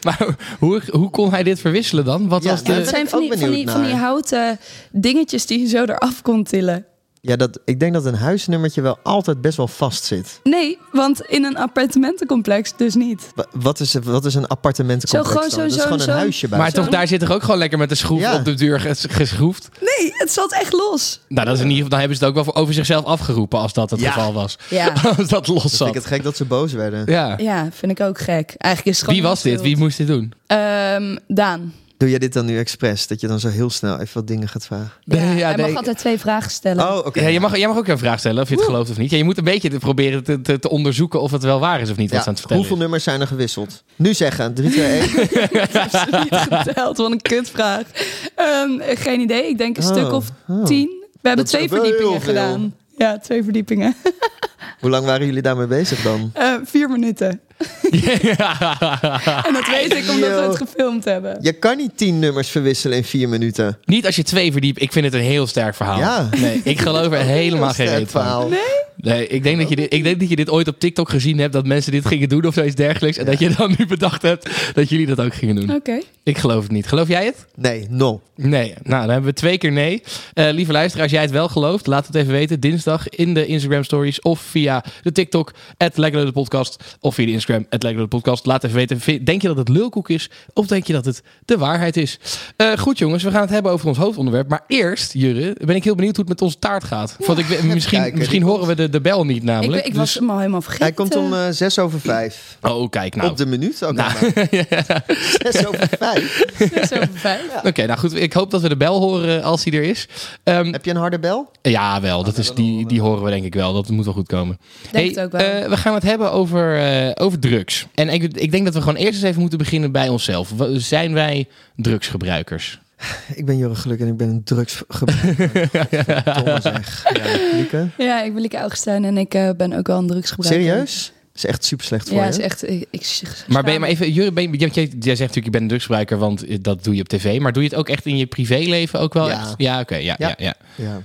Maar hoe, hoe kon hij dit verwisselen dan? Wat
Ja,
was
ja,
de...
Het zijn
Eh, ik
van
ook
die, van,
benieuwd
die, van die
naar.
houten dingetjes die je zo eraf kon tillen.
Ja, dat, ik denk dat een huisnummertje wel altijd best wel vast zit.
Nee, want in een appartementencomplex dus niet.
Wa- Wat is, wat is een appartementencomplex
Zo, gewoon
dan?
zo-
Dat is
zo-
gewoon
zo-
een huisje
nou,
bij.
Maar toch, daar zit toch ook gewoon lekker met de schroef
Ja.
op de deur ges- geschroefd?
Nee, het zat echt los.
Nou, dat is in ieder geval, dan hebben ze het ook wel voor over zichzelf afgeroepen als dat het
Ja.
geval was.
Ja.
als dat los
Dus vind
zat.
ik het gek dat ze boos werden.
Ja.
Ja, vind ik ook gek. Eigenlijk is het
Wie
gewoon
was dit? Wie moest dit doen?
Ehm, Daan.
Doe jij dit dan nu expres? Dat je dan zo heel snel even wat dingen gaat vragen?
Ja,
Nee, ja,
hij mag
nee.
altijd twee vragen stellen.
Oh, oké.
Ja, je mag, jij mag ook een vraag stellen of je het gelooft of niet. Ja, je moet een beetje te proberen te, te, te onderzoeken of het wel waar is of niet.
Ja,
Wat ze aan het vertellen
hoeveel nummers zijn er gewisseld? Nu zeggen. 3, 2, 1.
Ik heb ze niet geteld, wat een kutvraag. Ehm, geen idee, ik denk een
Oh,
stuk of
oh.
tien. We hebben
Dat
twee
is wel heel
verdiepingen
veel.
gedaan. Ja, twee verdiepingen.
Hoe lang waren jullie daarmee bezig dan?
Eh, vier minuten.
Ja.
En dat weet ik omdat we
Ah. Yo.
het gefilmd hebben.
Je kan niet 10 nummers verwisselen in 4 minuten.
Niet als je twee verdiept. Ik vind het een heel sterk verhaal.
Ja.
Nee, ik geloof er helemaal geen
Sterk
reet van.
verhaal.
Nee, ik denk, dat je dit, ik denk dat je dit ooit op TikTok gezien hebt. Dat mensen dit gingen doen of zoiets dergelijks. En dat je dan nu bedacht hebt dat jullie dat ook gingen doen.
Oké.
Nou,
Ik geloof het niet. Geloof jij het?
Nee, no.
Nee, nou dan hebben we twee keer nee. Eh, lieve luisteraar, als jij het wel gelooft, laat het even weten. Dinsdag in de Instagram Stories of via de TikTok, at de Podcast. Of via de Instagram, at de Podcast. Laat even weten, vind- denk je dat het lulkoek is of denk je dat het de waarheid is? Eh, goed jongens, we gaan het hebben over ons hoofdonderwerp. Maar eerst, Jurre, ben ik heel benieuwd hoe het met onze taart gaat. Want ik, weet- misschien
kijken,
misschien
die
horen we de, de bel niet
Ik,
namelijk.
ik was hem al helemaal vergeten.
dus- Hij komt om eh, 6 over 5.
Oh, kijk nou.
Op de minuut ook
Nou.
nog maar. 6 over 5.
Zo vijf.
Oké, nou goed, ik hoop dat we de bel horen eh, als die er is. Ehm,
Heb je een harde bel?
Ja, wel. Ah, Dat is, die, die horen we denk ik wel. Dat moet wel goed komen.
Denk het ook wel.
eh, we gaan het hebben over, eh, over drugs. En ik, ik denk dat we gewoon eerst eens even moeten beginnen bij onszelf. Wa- Zijn wij drugsgebruikers?
Ik ben Jorre Geluk en ik ben een drugsgebruiker. Godverdomme zeg. Ja, Lieke.
Ja, ik ben Lieke Augustijn en ik eh, ben ook wel een drugsgebruiker.
Serieus? is echt super slecht voor
Ja,
je.
is echt... Ik, ik,
Maar ben je maar even, Jure, ben je, want jij, jij zegt natuurlijk, je bent een drugsgebruiker, want eh, dat doe je op tv. Maar doe je het ook echt in je privéleven ook wel?
Ja.
echt? ja oké. ja, ja.
Ja.
Ja,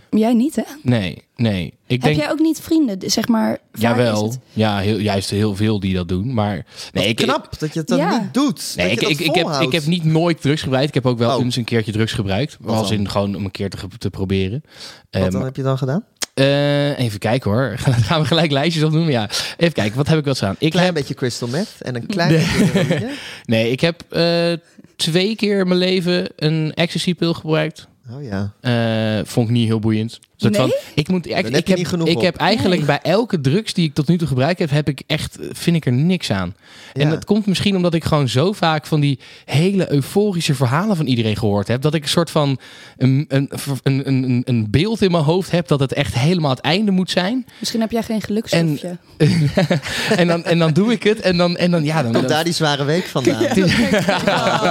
Ja.
Jij niet, hè?
Nee, nee. Ik
Heb jij ook niet vrienden? Zeg maar... vaak
jawel.
is het-
Ja, heel, juist heel veel die dat doen. Maar nee,
Wat
ik,
knap dat je het dan
Ja.
niet doet.
Nee,
dat
ik,
je
ik,
dat
ik, heb, ik
volhoudt.
heb niet nooit drugs gebruikt. Ik heb ook wel
Oh.
eens een keertje drugs gebruikt.
Wat
Als
dan?
in gewoon om een keer te, ge- te proberen. Eh,
Wat dan
maar-
heb je dan gedaan?
eh, even kijken hoor. Gaan we gelijk lijstjes opdoen? Ja. Even kijken, wat heb ik wel gedaan? Ik
Klein
heb,
beetje crystal meth en een klein beetje heroïne.
nee, ik heb eh, twee keer in mijn leven een ecstasy-pil gebruikt.
Ah, Oh ja.
Eh, vond ik niet heel boeiend. Een soort
Nee?
van, ik moet, ik,
heb
ik
je
heb,
niet genoeg
ik
op.
heb eigenlijk bij elke drugs die ik tot nu toe gebruikt heb, heb ik echt, eh, vind ik er niks aan. En
Ja.
dat komt misschien omdat ik gewoon zo vaak van die hele euforische verhalen van iedereen gehoord heb. Dat ik een soort van een, een, een, een, een beeld in mijn hoofd heb dat het echt helemaal het einde moet zijn.
Misschien heb jij geen gelukshofje.
En dan, en dan doe ik het. En dan, en dan ja, dan.
Komt
dan-
daar die zware week vandaan? Ja.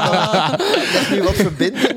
nu wat verbindingen.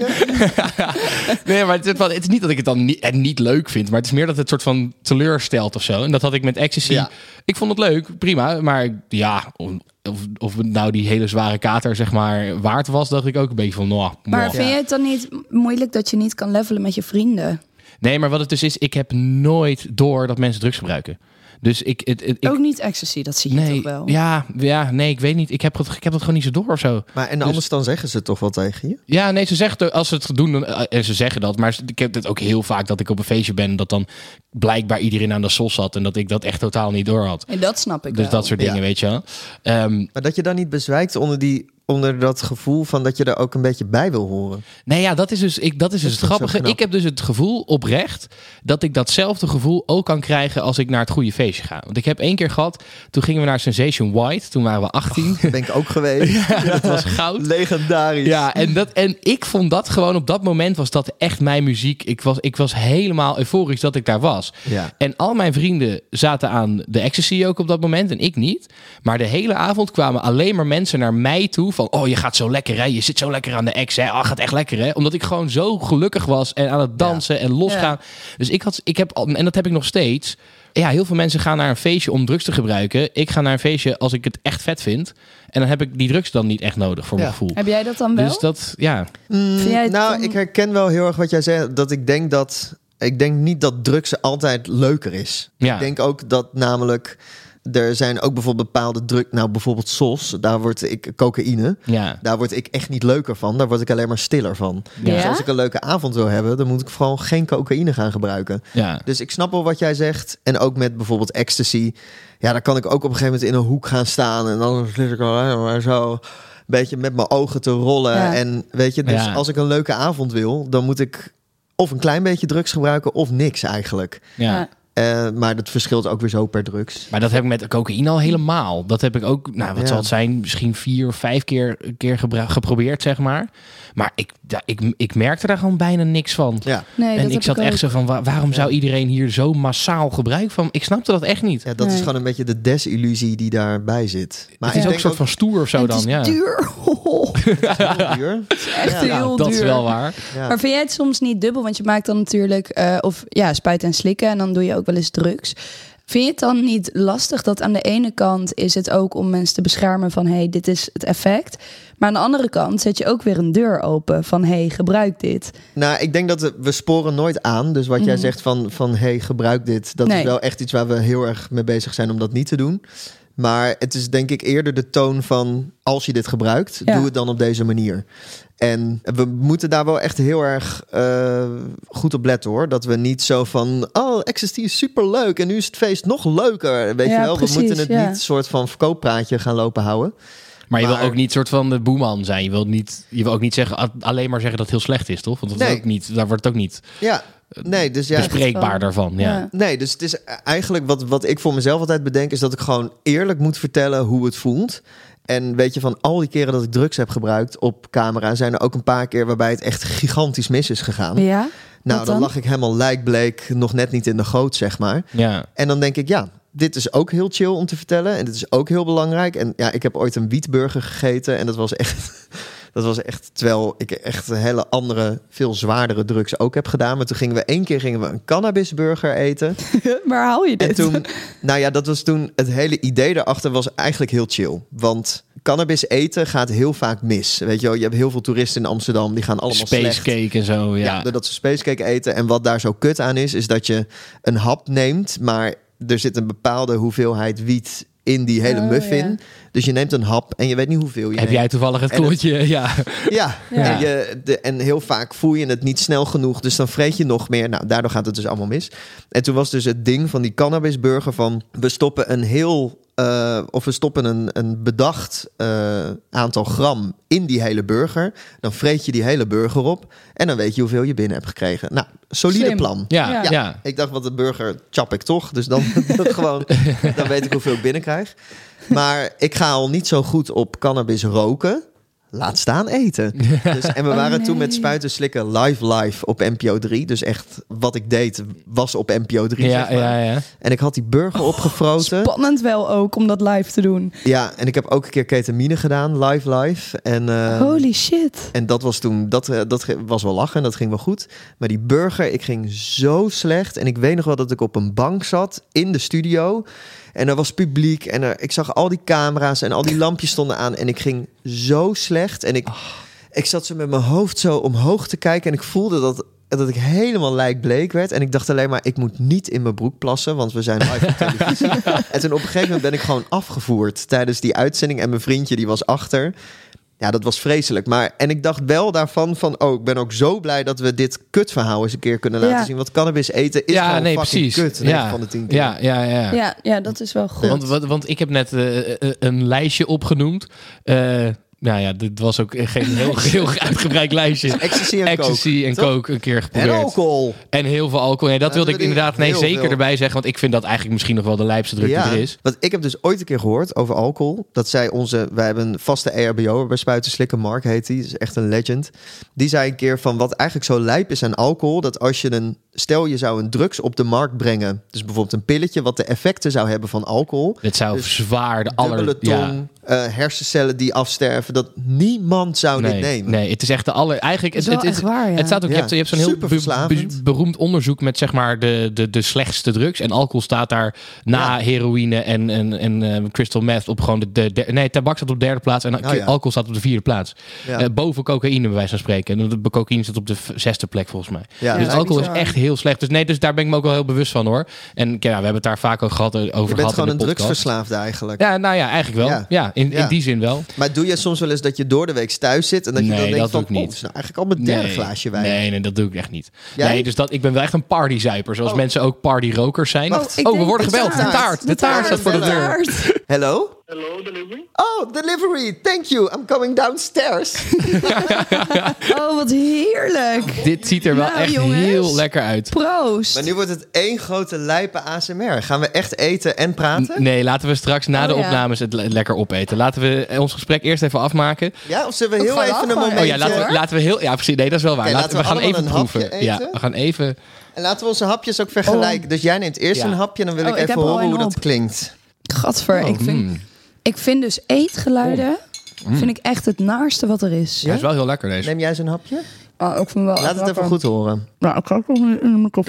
Nee, maar het, is wel- het is niet dat ik het dan niet, het niet leuk vind. Maar het is meer dat het soort van teleurstelt of zo. En dat had ik met Ecstasy.
Ja.
Ik vond het leuk, prima. Maar ja, of, of het nou die hele zware kater zeg maar waard was, dacht ik ook een beetje van... nou,
Maar
nou.
vind je het dan niet moeilijk dat je niet kan levelen met je vrienden?
Nee, maar wat het dus is, ik heb nooit door dat mensen drugs gebruiken. Dus ik... Het, het- ik
Ook niet ecstasy, dat zie je
nee,
toch wel?
ja, ja, nee, ik weet niet. Ik heb, het, ik heb dat gewoon niet zo door of zo.
Maar en
Dus-
anders dan zeggen ze toch wel tegen je?
Ja, nee, ze zegt als ze het doen dan, eh, en ze zeggen dat. Maar ik heb het ook heel vaak dat ik op een feestje ben en dat dan blijkbaar iedereen aan de sol zat en dat ik dat echt totaal niet door had.
En dat snap ik
Dus
wel.
dat soort dingen,
Ja.
weet je wel. Ehm,
Maar dat je dan niet bezwijkt onder, die, onder dat gevoel van dat je er ook een beetje bij wil horen.
nee, ja, dat is dus, ik, dat is dus het
is toch zo
grappige.
knap.
Ik heb dus het gevoel oprecht dat ik datzelfde gevoel ook kan krijgen als ik naar het goede feestje ga. Want ik heb één keer gehad, toen gingen we naar Sensation White, toen waren we 18.
Dat ben ik ook geweest.
dat was goud.
Legendarisch.
Ja, en, dat, en ik vond dat gewoon op dat moment was dat echt mijn muziek. Ik was, ik was helemaal euforisch dat ik daar was.
Ja.
En al mijn vrienden zaten aan de ecstasy ook op dat moment en ik niet. Maar de hele avond kwamen alleen maar mensen naar mij toe van... oh, je gaat zo lekker hè, je zit zo lekker aan de ex hè. Oh, gaat echt lekker hè. Omdat ik gewoon zo gelukkig was en aan het dansen en losgaan. Dus ik had, ik heb, al- en dat heb ik nog steeds... Ja, heel veel mensen gaan naar een feestje om drugs te gebruiken. Ik ga naar een feestje als ik het echt vet vind. En dan heb ik die drugs dan niet echt nodig voor mijn
Ja.
gevoel.
Heb jij dat dan wel?
Dus dat, ja.
Mm,
Vind jij het
nou,
dan-
ik herken wel heel erg wat jij zegt. Dat ik denk dat. Ik denk niet dat drugs altijd leuker is.
Ja.
Ik denk ook dat namelijk. Er zijn ook bijvoorbeeld bepaalde druk. Nou, bijvoorbeeld SOS. Daar word ik cocaïne.
ja.
Daar word ik echt niet leuker van. Daar word ik alleen maar stiller van.
Ja.
Dus als ik een leuke avond wil hebben, dan moet ik vooral geen cocaïne gaan gebruiken.
Ja.
Dus ik snap wel wat jij zegt. En ook met bijvoorbeeld ecstasy. Ja, dan kan ik ook op een gegeven moment in een hoek gaan staan. En dan zit ik al helemaal zo een beetje met mijn ogen te rollen.
Ja.
En weet je, dus
Ja.
als ik een leuke avond wil, dan moet ik of een klein beetje drugs gebruiken of niks eigenlijk.
ja.
Eh, maar dat verschilt ook weer zo per drugs.
Maar dat heb ik met cocaïne al helemaal. Dat heb ik ook, nou wat
Ja.
zal het zijn, misschien vier of vijf keer, keer gebru- geprobeerd, zeg maar. Maar ik, da- ik, ik merkte daar gewoon bijna niks van.
Ja,
Nee,
en
dat
ik
heb
zat
ook.
echt zo van, wa- waarom zou iedereen hier zo massaal gebruik van? Ik snapte dat echt niet.
ja dat
Nee.
is gewoon een beetje de desillusie die daarbij zit. Maar
het is
ik
ook een soort van
denk
stoer of zo
En het
dan.
is
Ja,
duur.
heel duur.
Echt
Ja,
heel
dat
duur.
is wel waar.
Ja.
Maar vind jij het soms niet dubbel? Want je maakt dan natuurlijk, eh, of ja, spuiten en slikken en dan doe je ook wel eens drugs. Vind je het dan niet lastig dat aan de ene kant is het ook om mensen te beschermen van hé, hey, dit is het effect. Maar aan de andere kant zet je ook weer een deur open van hé, hey, gebruik dit.
Nou, ik denk dat we, we sporen nooit aan. Dus wat jij zegt van, van hey, gebruik dit. Dat
Mhm. Nee.
is wel echt iets waar we heel erg mee bezig zijn om dat niet te doen. Maar het is denk ik eerder de toon van als je dit gebruikt,
Ja.
doe het dan op deze manier. En we moeten daar wel echt heel erg eh, goed op letten hoor. Dat we niet zo van, oh, ecstasy is superleuk en nu is het feest nog leuker. Weet
Ja,
je wel,
precies,
we moeten het
ja.
niet soort van verkooppraatje gaan lopen houden.
Maar je
Maar-
wil ook niet soort van de boeman zijn. Je wil, niet, je wil ook niet zeggen, a- alleen maar zeggen dat het heel slecht is, toch? Want dat is
Nee.
ook niet, daar wordt het ook niet
Ja, nee, dus ja.
bespreekbaar daarvan. Ja.
Ja.
Nee, dus het is eigenlijk wat, wat ik voor mezelf altijd bedenk, is dat ik gewoon eerlijk moet vertellen hoe het voelt. En weet je, van al die keren dat ik drugs heb gebruikt op camera, zijn er ook een paar keer waarbij het echt gigantisch mis is gegaan.
Ja, wat
nou, dan?
dan?
lag ik helemaal lijkbleek, nog net niet in de goot, zeg maar.
ja.
En dan denk ik, ja, dit is ook heel chill om te vertellen. En dit is ook heel belangrijk. En ja, ik heb ooit een wietburger gegeten. En dat was echt. Dat was echt. Terwijl ik echt een hele andere, veel zwaardere drugs ook heb gedaan. Maar toen gingen we één keer gingen we een cannabisburger eten.
waar haal je dit?
En toen, nou ja, dat was toen het hele idee daarachter was eigenlijk heel chill. Want cannabis eten gaat heel vaak mis. Weet je wel, je hebt heel veel toeristen in Amsterdam, die gaan allemaal
Space
slecht.
cake en zo.
Ja, doordat ze spacecake eten. En wat daar zo kut aan is, is dat je een hap neemt, maar er zit een bepaalde hoeveelheid wiet in die hele
Oh,
muffin.
ja.
Dus je neemt een hap en je weet niet hoeveel je
Heb
neemt.
jij toevallig het
En het-
klontje? Ja.
Ja,
Ja.
En, je, de, en heel vaak voel je het niet snel genoeg, dus dan vreet je nog meer. Nou, daardoor gaat het dus allemaal mis. En toen was dus het ding van die cannabisburger van... we stoppen een heel eh, of we stoppen een, een bedacht eh, aantal gram in die hele burger. Dan vreet je die hele burger op. En dan weet je hoeveel je binnen hebt gekregen. Nou, solide
Slim.
plan.
Ja.
Ja, ja. ja.
Ik dacht, wat de burger chap ik toch. Dus dan, dan gewoon, dan weet ik hoeveel ik binnenkrijg. Maar ik ga al niet zo goed op cannabis roken. Laat staan eten. Dus, en we
Oh,
waren toen met Spuiten Slikken live live op NPO 3. Dus echt, wat ik deed was op NPO 3, zeg
Ja,
maar.
ja, Oh, ja.
En ik had die burger opgefroten.
Spannend wel ook om dat live te doen.
Ja, en ik heb ook een keer ketamine gedaan, live live. En, eh,
Holy shit.
en dat was toen, dat, eh, dat ge- was wel lachen en dat ging wel goed. Maar die burger, ik ging zo slecht. En ik weet nog wel dat ik op een bank zat in de studio. En er was publiek en er, ik zag al die camera's en al die lampjes stonden aan. En ik ging zo slecht. En ik, ik zat zo met mijn hoofd zo omhoog te kijken. En ik voelde dat, dat ik helemaal lijkbleek werd. En ik dacht alleen maar, ik moet niet in mijn broek plassen, want we zijn live op televisie. en toen op een gegeven moment ben ik gewoon afgevoerd tijdens die uitzending. En mijn vriendje, die was achter. Ja, dat was vreselijk. Maar, en ik dacht wel daarvan van... oh, ik ben ook zo blij dat we dit kutverhaal eens een keer kunnen laten
Ja.
zien. Want cannabis eten is
ja
gewoon
nee,
fucking
precies.
kut. negen
ja.
van de tien keer.
ja, ja, ja.
Ja, ja, dat is wel goed.
Want, want, want ik heb net eh, eh, een lijstje opgenoemd. Eh, nou ja, dit was ook geen heel, heel uitgebreid lijstje.
Ecstasy en
Ecstasy en
toch?
coke een keer
coke. En
geprobeerd.
alcohol.
En heel veel alcohol. Ja, dat
Ja,
wilde
dat
ik
wil ik
inderdaad nee,
heel
zeker
veel.
erbij zeggen. Want ik vind dat eigenlijk misschien nog wel de lijpste druk die er is.
Want ik heb dus ooit een keer gehoord over alcohol. Dat zij onze, wij hebben een vaste ERBO bij Spuiten Slikken, Mark heet die, is echt een legend. Die zei een keer van wat eigenlijk zo lijp is aan alcohol, dat als je een, stel je zou een drugs op de markt brengen, dus bijvoorbeeld een pilletje, wat de effecten zou hebben van alcohol.
Het zou
Dus
zwaar de aller...
Dubbele
Ja.
tong, eh, hersencellen die afsterven, dat niemand zou Oh,
Nee,
dit nemen.
nee, het is echt de aller... Eigenlijk, het,
is wel
het, het,
echt waar, ja.
het staat ook...
Ja,
Je hebt, je hebt zo'n heel be-
superverslavend.
be- beroemd onderzoek met zeg maar de, de, de slechtste drugs. En alcohol staat daar na
Ja.
heroïne en, en, en eh, crystal meth op gewoon de, de, de- Nee, tabak staat op de derde plaats en
Nou ja.
alcohol staat op de vierde plaats.
Ja.
Eh, boven cocaïne bij wijze van spreken. En de cocaïne zit op de v- zesde plek volgens mij.
Ja,
dus
dat
alcohol
is
is
bizar.
echt heel slecht. Dus nee, dus daar ben ik me ook wel heel bewust van hoor. En ja, we hebben het daar vaak ook gehad, eh, over
Je bent
gehad
gewoon
in
een
de podcast.
drugsverslaafde eigenlijk.
Ja, nou ja, eigenlijk wel. Ja,
Ja.
in, in
Ja.
die zin wel.
Maar doe je soms wel eens dat je door de week thuis zit en dat
Nee,
je dan denkt
dat doe
van,
ik niet.
oh, het is nou eigenlijk al mijn derde
nee,
glaasje wijn.
Nee, nee, dat doe ik echt niet.
Jij?
Nee, dus dat, ik ben wel echt een partyzuiper. Zoals
Oh.
mensen ook partyrokers zijn.
Wacht,
oh, we worden gebeld. De taart. De taart staat voor de deur.
Hello?
Hello, delivery.
Oh, delivery. Thank you. I'm coming downstairs.
Oh, wat heerlijk.
Dit ziet er wel
Nou,
echt
jongens.
heel lekker uit.
Proost.
maar nu wordt het één grote lijpe ASMR. Gaan we echt eten en praten?
Nee, laten we straks na
Oh,
de
ja.
opnames het le- lekker opeten. Laten we eh, ons gesprek eerst even afmaken.
Ja, of zullen we
Dat
heel
gaan we
even een
afmaken.
momentje...
Oh ja, laten we, laten we heel. Ja, precies. Nee, dat is wel waar.
Oké,
laten, we,
laten we
gaan even
allemaal een hapje
proeven. Ja,
eten.
we gaan even.
En laten we onze hapjes ook vergelijken. Dus jij neemt eerst
Ja.
een hapje, dan wil
Oh,
ik
ik
even
heb er al
horen
een
hoe dat
op.
klinkt.
Gadver. ik, vind,
mm.
ik vind dus eetgeluiden
Oh. Hmm.
vind ik echt het naarste wat er is.
Hij is wel heel lekker deze.
Neem jij zo'n hapje?
Ah, ik vind wel
Laat het even goed horen.
Nou, ik ook nog in mijn kop.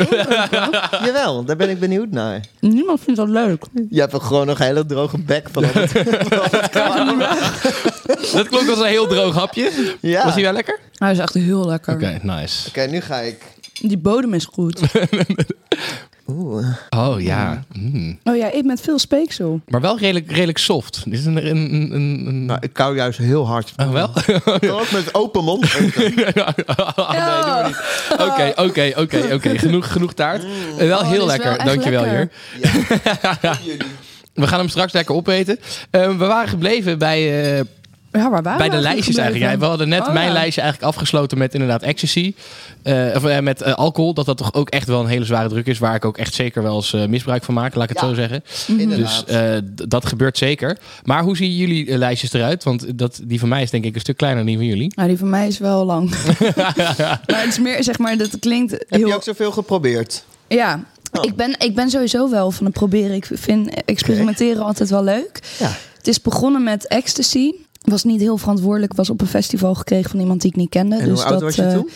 Jawel, daar ben ik benieuwd naar.
Niemand vindt dat leuk.
Je hebt gewoon nog een hele droge bek van al dat-
Dat klonk als een heel droog hapje.
Ja.
Was hij wel lekker?
Hij is echt heel lekker.
Oké, nice.
Oké, nu ga ik.
Die bodem is goed.
Oeh.
Oh ja. Mm.
Oh ja, ik met veel speeksel.
Maar wel redelijk, redelijk soft. Dit is een. een, een, een- een...
Nou, ik kauw juist heel hard.
Oh, wel?
Ook met open mond. eten.
Ja.
Oké, oké, oké, oké. Genoeg, genoeg taart.
Mm.
Eh, wel
Oh,
heel
dit is wel
lekker.
echt
Dankjewel, Jur.
lekker.
Jullie.
We gaan hem straks lekker opeten. Eh, we waren gebleven bij, eh,
Ja, waar waren
bij
Oh, we
de lijstjes eigenlijk. Ja, we hadden net
Oh,
mijn
ja.
lijstje eigenlijk afgesloten met inderdaad ecstasy. Eh, of eh, met eh, alcohol. Dat dat toch ook echt wel een hele zware druk is. Waar ik ook echt zeker wel eens eh, misbruik van maak. Laat ik het
Ja.
zo zeggen. Dus
Mhm.
Inderdaad.
eh, d- dat gebeurt zeker. Maar hoe zien jullie eh, lijstjes eruit? Want dat, die van mij is denk ik een stuk kleiner dan die van jullie.
Nou, die van mij is wel lang. maar het is meer, zeg maar, dat klinkt
Heb
heel...
je ook zoveel geprobeerd?
Ja,
Oh.
ik, ben, ik ben sowieso wel van het proberen. Ik vind experimenteren altijd wel leuk.
Ja.
Het is begonnen met ecstasy. Was niet heel verantwoordelijk. Was op een festival gekregen van iemand die ik niet kende.
En
dus
hoe oud
dat,
was je
eh,
toen?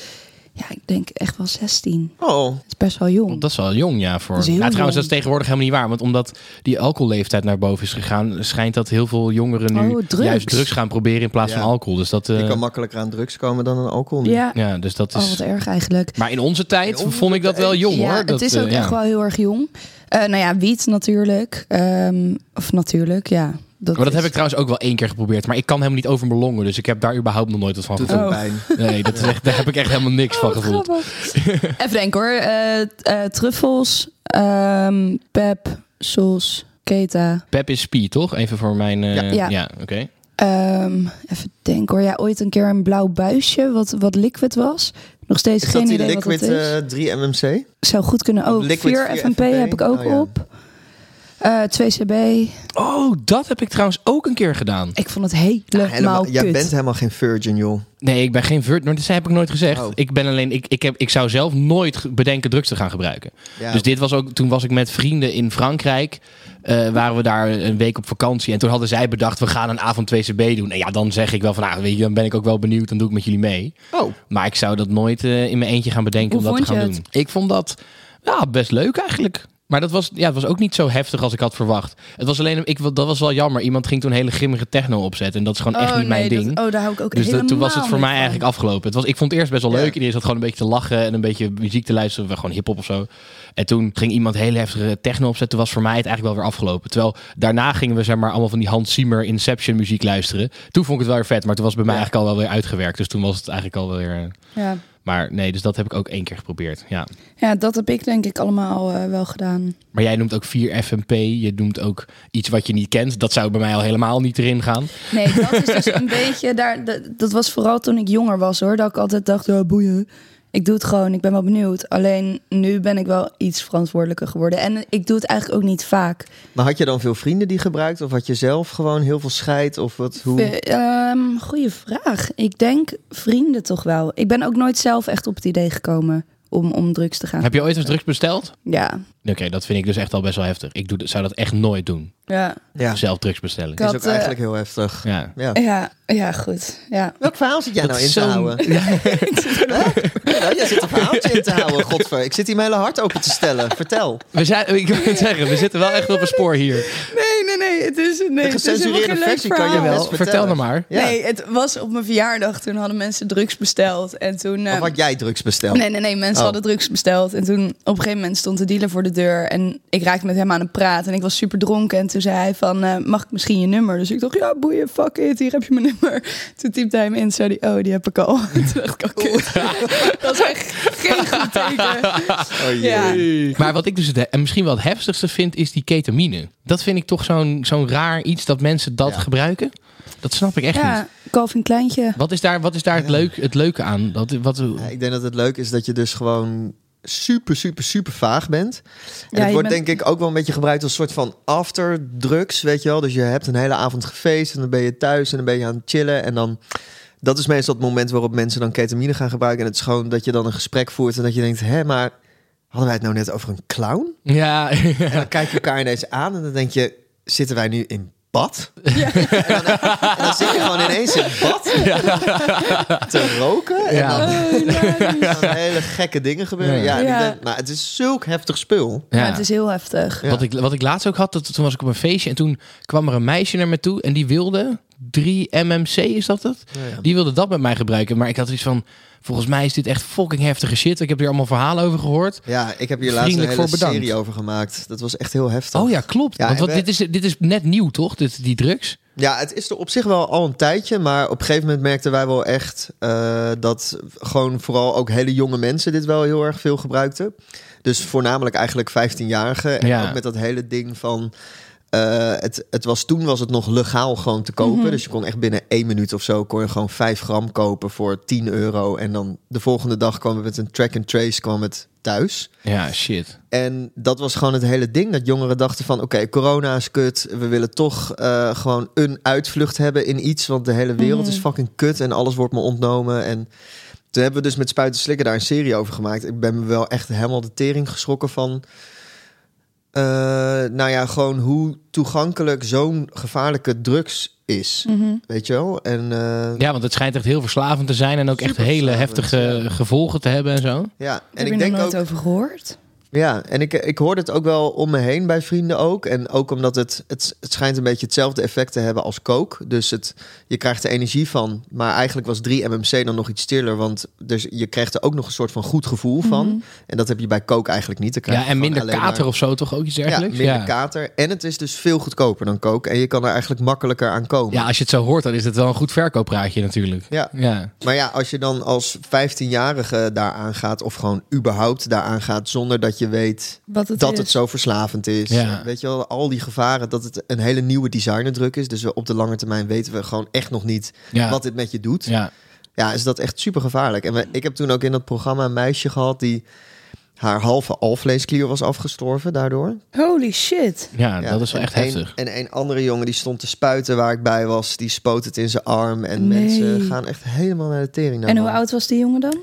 Ja, ik denk echt wel 16. Dat
Oh,
is best wel jong.
Dat is wel jong, ja. Voor...
Dat is heel
Nou, trouwens, dat is
jong.
tegenwoordig helemaal niet waar. Want omdat die alcoholleeftijd naar boven is gegaan, schijnt dat heel veel jongeren nu
Oh, drugs.
juist drugs gaan proberen in plaats
Ja.
van alcohol. Dus dat, eh,
je kan makkelijker aan drugs komen dan aan alcohol. nu.
ja.
ja, dus dat
Oh,
is.
wat erg eigenlijk.
maar in onze tijd
In onze
vond ik dat wel jong
ja,
hoor. dat,
het is
eh,
ook
ja.
echt wel heel erg jong. Eh, nou ja, wiet natuurlijk. Ehm, of natuurlijk, ja. Dat
Maar dat
is-
heb ik trouwens ook wel één keer geprobeerd. Maar ik kan helemaal niet over mijn longen. Dus ik heb daar überhaupt nog nooit wat van
Doet
gevoeld.
ook
Oh.
pijn.
Nee, dat is echt, daar heb ik echt helemaal niks van
Oh, wat
gevoeld.
grappig. Even denken hoor. Eh, eh, truffels, ehm, pep, sols, Keta.
Pep is Spie, toch? Even voor mijn... eh,
Ja.
ja.
Ja.
oké.
Ehm, even denken hoor. Ja, ooit een keer een blauw buisje, wat, wat liquid was. Nog steeds
Is
geen
dat die
idee
Liquid
wat dat is.
eh, 3 MMC?
Zou goed kunnen. Oh,
liquid
4
4
FNP, heb ik ook
Oh, ja.
op. Eh 2CB.
Oh, dat heb ik trouwens ook een keer gedaan.
Ik vond het helemaal,
Helemaal,
kut.
jij bent helemaal geen virgin, joh.
Nee, ik ben geen virt, maar dat heb ik nooit gezegd.
Oh.
Ik ben alleen, ik, ik, heb, ik zou zelf nooit ge- bedenken drugs te gaan gebruiken.
Ja.
Dus dit was ook, toen was ik met vrienden in Frankrijk. eh, waren we daar een week op vakantie. En toen hadden zij bedacht, we gaan een avond 2CB doen. En ja, dan zeg ik wel van, ah, weet je, dan ben ik ook wel benieuwd. Dan doe ik met jullie mee.
Oh.
Maar ik zou dat nooit eh, in mijn eentje gaan
Hoe
bedenken om dat
vond
te gaan
je
doen.
het?
Ik vond dat ja, best leuk eigenlijk. Maar dat was, ja, het was ook niet zo heftig als ik had verwacht. Het was alleen, ik, dat was wel jammer. Iemand ging toen hele grimmige techno opzetten. En dat is gewoon echt
oh,
niet mijn
nee,
ding.
dat- oh, daar hou ik ook
Dus dat,
helemaal
toen was het voor
niet
mij
van.
eigenlijk afgelopen. Het was, ik vond het eerst best wel
Ja.
leuk. Iedereen zat gewoon een beetje te lachen en een beetje muziek te luisteren. Gewoon hip-hop of zo. En toen ging iemand hele heftige techno opzetten. Toen was voor mij het eigenlijk wel weer afgelopen. Terwijl daarna gingen we zeg maar allemaal van die Hans Zimmer Inception muziek luisteren. Toen vond ik het wel weer vet. Maar toen was het bij mij eigenlijk al wel weer uitgewerkt. Dus toen was het eigenlijk al wel weer... eh,
Ja.
Maar nee, dus dat heb ik ook één keer geprobeerd. Ja.
ja, dat heb ik denk ik allemaal eh, wel gedaan.
Maar jij noemt ook 4FMP. Je noemt ook iets wat je niet kent. Dat zou bij mij al helemaal niet erin gaan.
Nee, dat is dus een beetje daar. Dat, dat was vooral toen ik jonger was hoor. Dat ik altijd dacht, ja, boeien. Ik doe het gewoon, ik ben wel benieuwd. Alleen nu ben ik wel iets verantwoordelijker geworden. En ik doe het eigenlijk ook niet vaak.
Maar had je dan veel vrienden die gebruikt? Of had je zelf gewoon heel veel scheid? Of wat, hoe?
Eh, ehm, goeie vraag. Ik denk vrienden toch wel. Ik ben ook nooit zelf echt op het idee gekomen om, om drugs te gaan.
Heb je ooit eens drugs besteld?
Ja.
Oké, dat vind ik dus echt al best wel heftig. Ik doe, zou dat echt nooit doen.
Ja.
Ja,
Zelf drugs bestellen.
Kan-
is ook
dat, eh,
eigenlijk heel heftig.
Ja.
Ja.
Ja, ja, goed. Ja.
Welk verhaal zit jij
Dat
nou
is
in te
zo'n-
houden? Hè? Ja, jij zit een verhaaltje in te houden, godver. Ik zit hier mijn hele hart open te stellen. Vertel.
We zijn, ik wil het zeggen, we zitten wel echt op een spoor hier.
Nee, nee, nee. Het is, nee,
De gecensureerde versie kan je wel.
Jawel, vertel nou maar.
Ja.
Nee, het was op mijn verjaardag. Toen hadden mensen drugs besteld. En toen.
Of
ehm,
had jij drugs besteld?
Nee, nee, nee. Mensen
Oh.
hadden drugs besteld. En toen op een gegeven moment stond de dealer voor de deur. En ik raakte met hem aan het praten. En ik was super dronken. En toen zei hij van, eh, mag ik misschien je nummer? Dus ik dacht, ja, boeien, fuck it. Hier heb je mijn nummer. Toen typte hij hem in. zei hij, oh, die heb ik al. toen dacht ik, oh, kut. Dat is echt geen goed teken.
Oh, jee.
Ja.
Maar wat ik dus het, he- en misschien wel het heftigste vind, is die ketamine. Dat vind ik toch zo'n zo'n raar iets dat mensen dat
Ja.
gebruiken. Dat snap ik echt niet.
Ja, Calvin Kleintje.
Wat is daar, wat is daar het, leuk, het leuke aan? Dat, wat,
Ja, Eh, ik denk dat het leuk is dat je dus gewoon super, super, super vaag bent. En
Ja,
het
je
wordt
bent-
denk ik ook wel een beetje gebruikt als soort van afterdrugs, weet je wel. Dus je hebt een hele avond gefeest en dan ben je thuis en dan ben je aan het chillen. En dan, dat is meestal het moment waarop mensen dan ketamine gaan gebruiken. En het is gewoon dat je dan een gesprek voert en dat je denkt, hé, maar hadden wij het nou net over een clown?
ja,
En dan kijk je elkaar ineens aan en dan denk je, zitten wij nu in bad? En, dan, en dan zit je gewoon ineens in bad te roken. En
Ja.
dan
Oh, nice.
er gaan hele gekke dingen gebeuren.
Ja.
Ja. en ik
Ja.
ben- maar het is zulk heftig spul.
Ja,
ja.
het is heel heftig.
Wat, ik, wat ik laatst ook had, dat, toen was ik op een feestje en toen kwam er een meisje naar me toe en die wilde 3MMC, is dat het? Die wilde dat met mij gebruiken, maar ik had iets van, volgens mij is dit echt fucking heftige shit. Ik heb hier allemaal verhalen over gehoord.
Ja, ik heb hier laatst een
Vriendelijk
hele
voor bedankt.
serie over gemaakt. Dat was echt heel heftig.
Oh ja, klopt.
Ja,
Want
en
wat,
we-
dit, is, dit is net nieuw, toch? Dit, die drugs?
Ja, het is er op zich wel al een tijdje. Maar op een gegeven moment merkten wij wel echt... eh, dat gewoon vooral ook hele jonge mensen dit wel heel erg veel gebruikten. Dus voornamelijk eigenlijk 15-jarigen. En
Ja.
ook met dat hele ding van... eh, het, het was, toen was het nog legaal gewoon te kopen. Dus je kon echt binnen één minuut of zo... kon je gewoon 5 gram kopen voor 10 euro. En dan de volgende dag kwam het met een track and trace kwam het thuis.
Ja, shit.
En dat was gewoon het hele ding. Dat jongeren dachten van, oké, corona is kut. We willen toch eh, gewoon een uitvlucht hebben in iets. Want de hele wereld
Mhm.
is fucking kut en alles wordt me ontnomen. En toen hebben we dus met Spuiten Slikken daar een serie over gemaakt. Ik ben me wel echt helemaal de tering geschrokken van... eh, nou ja, gewoon hoe toegankelijk zo'n gevaarlijke drugs is.
Mhm.
Weet je wel? En eh,
Ja, want het schijnt echt heel verslavend te zijn en ook echt hele
Superverslavend,
heftige gevolgen te hebben en zo.
ja,
heb
en
je
ik
er
denk
nog
ook...
nooit over gehoord?
Ja, en ik, ik hoorde het ook wel om me heen bij vrienden ook. En ook omdat het, het, het schijnt een beetje hetzelfde effect te hebben als coke. Dus het, je krijgt er energie van. Maar eigenlijk was 3-MMC dan nog iets stiller. Want dus je krijgt er ook nog een soort van goed gevoel van. En dat heb je bij coke eigenlijk niet. Dan krijg
Ja,
je
en
gewoon
minder
alleen maar-
kater of zo, toch ook iets
Ja,
dergelijks?
minder kater. En het is dus veel goedkoper dan coke. En je kan er eigenlijk makkelijker aan komen.
Ja, als je het zo hoort, dan is het wel een goed verkooppraatje natuurlijk.
Ja.
Ja.
Maar ja, als je dan als 15-jarige daaraan gaat, of gewoon überhaupt daaraan gaat, zonder dat dat je weet
Wat het
dat
is.
het zo verslavend is.
Ja.
Weet je wel, al die gevaren dat het een hele nieuwe designerdruk is. Dus we, op de lange termijn weten we gewoon echt nog niet
Ja.
wat dit met je doet.
Ja.
Ja, is dat echt super gevaarlijk. En we- ik heb toen ook in dat programma een meisje gehad die haar halve alvleesklier was afgestorven daardoor.
Holy shit.
Ja,
Ja,
dat is wel
en
echt
een-
heftig.
En een andere jongen die stond te spuiten waar ik bij was, die spoot het in zijn arm. En
Nee.
mensen gaan echt helemaal naar de
en
tering. daarvan.
hoe oud was die jongen dan?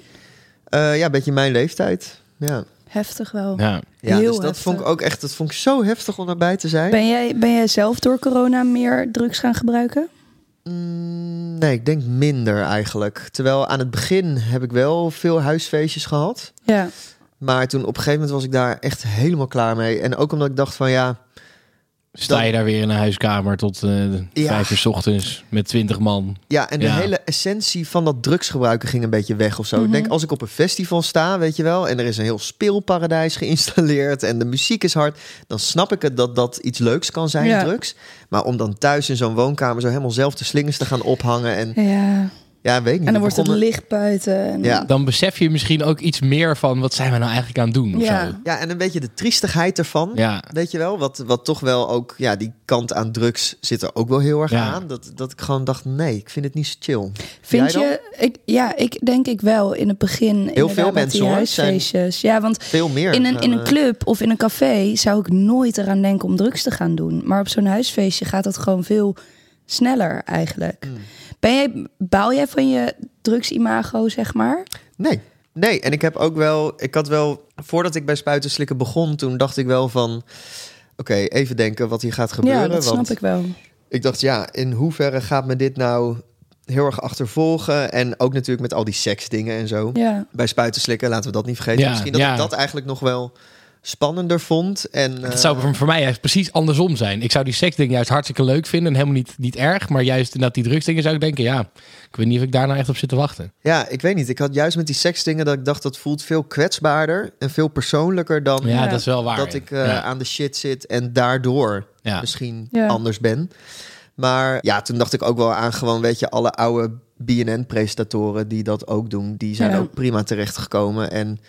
Eh, ja, een beetje mijn leeftijd. Ja,
Heftig wel.
Ja.
ja
Heel
dus dat
heftig.
vond ik ook echt, dat vond ik zo heftig om erbij te zijn.
Ben jij, ben jij zelf door corona meer drugs gaan gebruiken?
Mm, nee, ik denk minder eigenlijk. Terwijl aan het begin heb ik wel veel huisfeestjes gehad.
Ja.
Maar toen op een gegeven moment was ik daar echt helemaal klaar mee. En ook omdat ik dacht van ja,
Sta je
Dan-
daar weer in een huiskamer tot eh
Ja.
vijf uur 's ochtends met twintig man.
Ja, en de
Ja.
hele essentie van dat drugsgebruiken ging een beetje weg of zo.
Mhm.
Ik denk, als ik op een festival sta, weet je wel, en er is een heel speelparadijs geïnstalleerd en de muziek is hard, dan snap ik het dat dat iets leuks kan zijn,
Ja.
drugs. Maar om dan thuis in zo'n woonkamer zo helemaal zelf de slingers te gaan ophangen en
Ja.
ja, weet ik niet.
En dan wordt het
begon me-
licht buiten. En
Ja.
Dan besef je misschien ook iets meer van wat zijn we nou eigenlijk aan het doen of
Ja.
zo.
Ja, en een beetje de triestigheid ervan.
Ja.
Weet je wel, wat, wat toch wel ook, ja, die kant aan drugs zit er ook wel heel erg
Ja.
aan. Dat, dat ik gewoon dacht, nee, ik vind het niet zo chill.
Vind
Jij dan?
je? Ik, ja, ik denk ik wel in het begin. inderdaad,
veel
met
mensen,
die
hoor,
huisfeestjes. Ja, want
Veel meer.
in een, in een
Eh,
club of in een café zou ik nooit eraan denken om drugs te gaan doen. Maar op zo'n huisfeestje gaat dat gewoon veel sneller eigenlijk.
Hmm.
Ben jij, baal jij van je drugsimago, zeg maar?
Nee. Nee, en ik heb ook wel, ik had wel, voordat ik bij Spuiten Slikken begon, toen dacht ik wel van, oké, even denken wat hier gaat gebeuren.
ja, dat snap
want
ik wel.
ik dacht, ja, in hoeverre gaat me dit nou heel erg achtervolgen? En ook natuurlijk met al die seksdingen en zo.
Ja.
Bij Spuiten Slikken, laten we dat niet vergeten.
Ja,
Misschien dat
ja.
ik dat eigenlijk nog wel spannender vond. En, eh,
Het zou voor- voor mij juist precies andersom zijn. Ik zou die seksdingen juist hartstikke leuk vinden en helemaal niet, niet erg. Maar juist inderdaad die drugsdingen zou ik denken, ja, ik weet niet of ik daar nou echt op zit te wachten.
eh, Ja, ik weet niet. Ik had juist met die seksdingen dat ik dacht, dat voelt veel kwetsbaarder en veel persoonlijker dan
Ja, dat is wel waar.
dat ik eh,
ja.
aan de shit zit en daardoor
Ja.
misschien
Ja.
anders ben. Maar ja, toen dacht ik ook wel aan gewoon, weet je, alle oude BNN-presentatoren die dat ook doen, die zijn
Ja.
ook prima terechtgekomen. En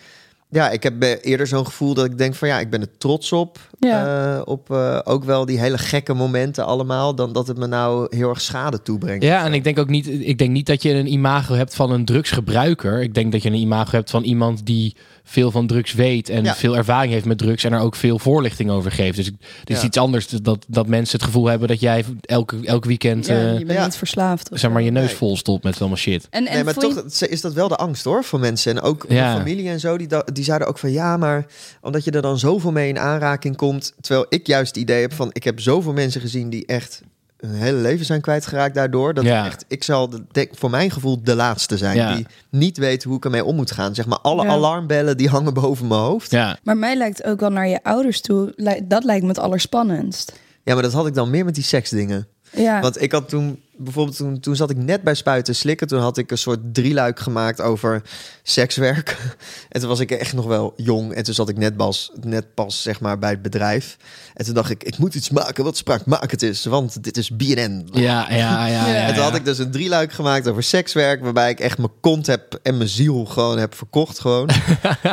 ja, ik heb eh, eerder zo'n gevoel dat ik denk van ja, ik ben er trots op.
Ja.
Eh, op eh, ook wel die hele gekke momenten allemaal, dan dat het me nou heel erg schade toebrengt.
Ja, en ik denk ook niet, ik denk niet dat je een imago hebt van een drugsgebruiker. Ik denk dat je een imago hebt van iemand die veel van drugs weet en
Ja.
veel ervaring heeft met drugs en er ook veel voorlichting over geeft. Dus ik- het is
Ja.
iets anders dat, dat mensen het gevoel hebben dat jij elke, elk weekend
Ja,
eh,
je bent
ja.
niet verslaafd. of
zeg maar,
zo.
je neus
Nee.
vol stopt met allemaal shit.
En, en
nee, maar
vond je-
toch is dat wel de angst hoor voor mensen. En ook
Ja.
mijn familie en zo, die, da- die zeiden ook van ja, maar omdat je er dan zoveel mee in aanraking komt. Terwijl ik juist het idee heb van ik heb zoveel mensen gezien die echt hun hele leven zijn kwijtgeraakt daardoor. Dat
Ja.
echt, ik zal de, denk, voor mijn gevoel de laatste zijn
Ja.
die niet weet hoe ik ermee om moet gaan. Zeg maar alle
Ja.
alarmbellen die hangen boven mijn hoofd. Ja.
Ja,
Maar mij lijkt ook wel naar je ouders toe. Lij- Dat lijkt me het allerspannendst.
maar dat had ik dan meer met die seksdingen.
Ja.
Want ik had toen, bijvoorbeeld toen, toen zat ik net bij Spuiten Slikken. Toen had ik een soort drieluik gemaakt over sekswerk. En toen was ik echt nog wel jong. En toen zat ik net, bas, net pas zeg maar, bij het bedrijf. En toen dacht ik, ik moet iets maken wat spraakmakend is. Want dit is BNN.
ja, ja, ja. ja, ja,
En toen had ik dus een drieluik gemaakt over sekswerk, waarbij ik echt mijn kont heb en mijn ziel gewoon heb verkocht. Gewoon.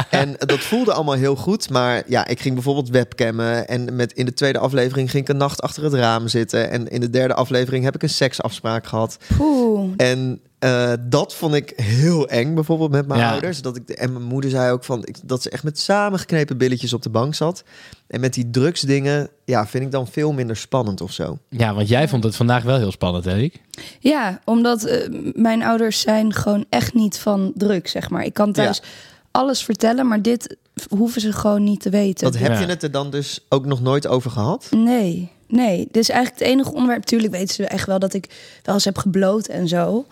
en dat voelde allemaal heel goed, maar ja, ik ging bijvoorbeeld webcammen en met, in de tweede aflevering ging ik een nacht achter het raam zitten. En in de derde aflevering heb ik een seksafspraak gehad.
Poeh.
En eh, dat vond ik heel eng bijvoorbeeld met mijn
Ja.
ouders. Dat ik, en mijn moeder zei ook van, ik, dat ze echt met samengeknepen billetjes op de bank zat. En met die drugsdingen, ja, vind ik dan veel minder spannend of zo.
Ja, want jij vond het vandaag wel heel spannend, hè? Ik?
Ja, omdat eh, mijn ouders zijn gewoon echt niet van druk, zeg maar. Ik kan thuis alles vertellen, maar dit v- hoeven ze gewoon niet te weten.
Wat heb
Ja.
je het er dan dus ook nog nooit over gehad?
Nee, nee. Dit is eigenlijk het enige onderwerp. Tuurlijk weten ze echt wel dat ik wel eens heb gebloot en zo.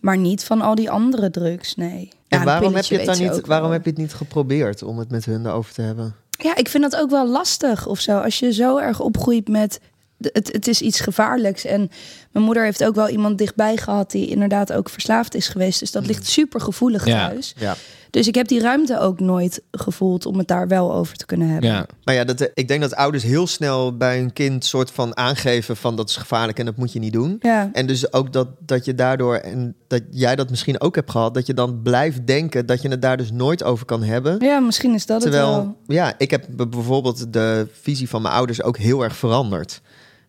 Maar niet van al die andere drugs, nee. Ja,
En
een
waarom heb,
pilletje
je het dan
weet ze
niet,
ook wel.
waarom heb je het niet geprobeerd om het met hun erover te hebben?
Ja, ik vind dat ook wel lastig of zo. Als je zo erg opgroeit met... de- Het, het is iets gevaarlijks. En mijn moeder heeft
Mm.
ook wel iemand dichtbij gehad... die inderdaad ook verslaafd is geweest. Dus dat ligt super gevoelig
Ja.
thuis.
Ja.
Dus ik heb die ruimte ook nooit gevoeld om het daar wel over te kunnen hebben.
Ja.
Maar ja, dat, eh, ik denk dat ouders heel snel bij hun kind soort van aangeven van dat is gevaarlijk en dat moet je niet doen.
Ja.
En dus ook dat, dat je daardoor, en dat jij dat misschien ook hebt gehad, dat je dan blijft denken dat je het daar dus nooit over kan hebben.
ja, misschien is dat het wel.
Terwijl, ja, ik heb b- bijvoorbeeld de visie van mijn ouders ook heel erg veranderd.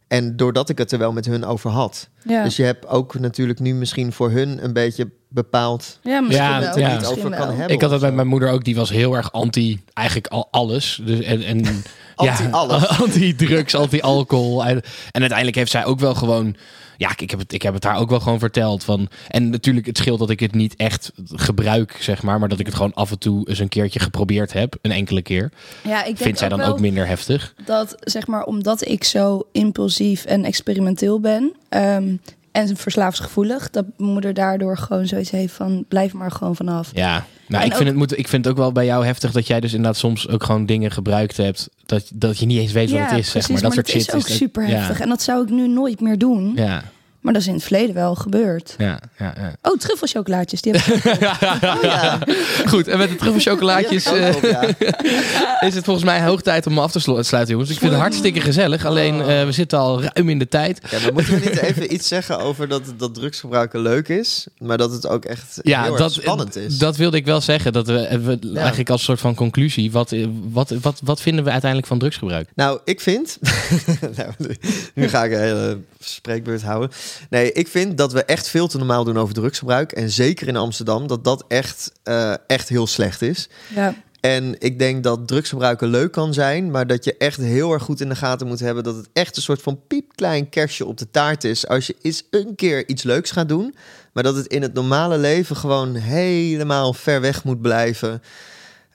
En doordat ik het er wel met hun over had.
Ja,
Dus je hebt ook natuurlijk nu misschien voor hun een beetje bepaald
ja misschien
Ja,
wel.
ja.
het
Misschien
over kan
wel.
hebben.
Ik had dat
of
met
zo.
mijn moeder ook. Die was heel erg anti eigenlijk al alles. Dus en, en, ja,
Anti-alles.
Anti-drugs, anti-alcohol. En, en uiteindelijk heeft zij ook wel gewoon... Ja, ik- ik heb, het, ik heb het haar ook wel gewoon verteld. Van, en natuurlijk, het scheelt dat ik het niet echt gebruik, zeg maar. Maar dat ik het gewoon af en toe eens een keertje geprobeerd heb. Een enkele keer.
Ja, ik denk
Vindt zij dan
wel
ook minder heftig.
dat zeg maar omdat ik zo impulsief en experimenteel ben ehm, en verslaafsgevoelig, dat mijn moeder daardoor gewoon zoiets heeft van blijf maar gewoon vanaf.
Ja, nou,
En
ik, vind
ook-
het, moet, ik vind het ook wel bij jou heftig dat jij dus inderdaad soms ook gewoon dingen gebruikt hebt. Dat, dat je niet eens weet wat het is, zeg maar. Dat soort shit
is ook
dat-
super heftig
Ja,
en dat zou ik nu nooit meer doen.
ja,
Maar dat is in het verleden wel gebeurd.
ja, ja, ja.
Oh, truffelchocolaatjes. Die heb ik...
Goed, en met de truffelchocolaatjes
Ja,
eh
ook wel, ja.
is het volgens mij hoog tijd om me af te slo- sluiten, jongens. Ik vind het hartstikke gezellig, alleen
Oh.
eh, we zitten al ruim in de tijd.
Ja, maar moeten we niet even iets zeggen over dat, dat drugsgebruiken leuk is, maar dat het ook echt
Ja,
heel
dat,
erg spannend is?
dat wilde ik wel zeggen. Dat we, eh, we eigenlijk als soort van conclusie, wat, eh, wat, wat, wat vinden we uiteindelijk van drugsgebruik?
Nou, ik vind. Nou, nu ga ik een hele spreekbeurt houden. Nee, ik vind dat we echt veel te normaal doen over drugsgebruik. En zeker in Amsterdam, dat dat echt, eh, echt heel slecht is.
ja.
En ik denk dat drugsgebruiken leuk kan zijn, maar dat je echt heel erg goed in de gaten moet hebben dat het echt een soort van piepklein kerstje op de taart is als je eens een keer iets leuks gaat doen, maar dat het in het normale leven gewoon helemaal ver weg moet blijven.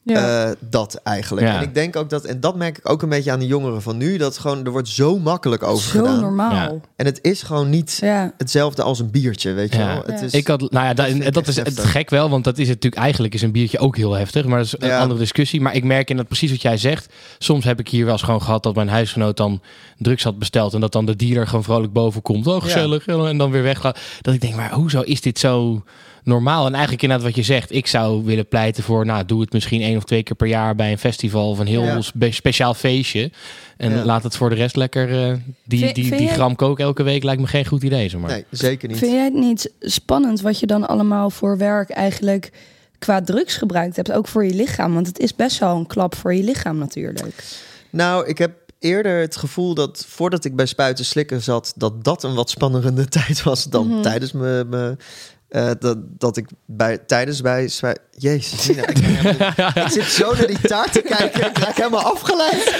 Ja.
Eh, dat eigenlijk.
Ja.
En ik denk ook dat, en dat merk ik ook een beetje aan de jongeren van nu, dat gewoon er wordt zo makkelijk over
Zo
gedaan.
normaal.
En het is gewoon niet
Ja. ja.
hetzelfde als een biertje, weet je
Ja.
wel? Het
Ja.
Dus is,
Ik had, nou ja, da-
vind
dat,
ik
is
echt
het
heftig.
gek wel, want dat is natuurlijk eigenlijk is een biertje ook heel heftig, maar dat is een
Ja.
andere discussie. Maar ik merk in dat precies wat jij zegt. Soms heb ik hier wel eens gewoon gehad dat mijn huisgenoot dan drugs had besteld en dat dan de dealer gewoon vrolijk boven komt. Oh, gezellig. En dan weer weggaat. Dat ik denk, maar hoezo is dit zo normaal? En eigenlijk inderdaad wat je zegt, ik zou willen pleiten voor, nou, doe het misschien één of twee keer per jaar bij een festival of een heel
Ja.
spe- speciaal feestje. En
Ja.
laat het voor de rest lekker, eh, die,
Vind-
die,
vind
die
jij-
gram kook elke week lijkt me geen goed idee, zeg maar.
Nee, zeker niet.
Vind jij het niet spannend wat je dan allemaal voor werk eigenlijk qua drugs gebruikt hebt? Ook voor je lichaam, want het is best wel een klap voor je lichaam natuurlijk.
Nou, ik heb eerder het gevoel dat voordat ik bij Spuiten Slikken zat, dat dat een wat spannendere tijd was dan
Mhm.
tijdens mijn. mijn, eh, dat, dat ik bij, tijdens bij... Spui- Jezus, Nina, ik, ben helemaal- ik zit zo naar die taart te kijken. Ik raak helemaal afgeleid.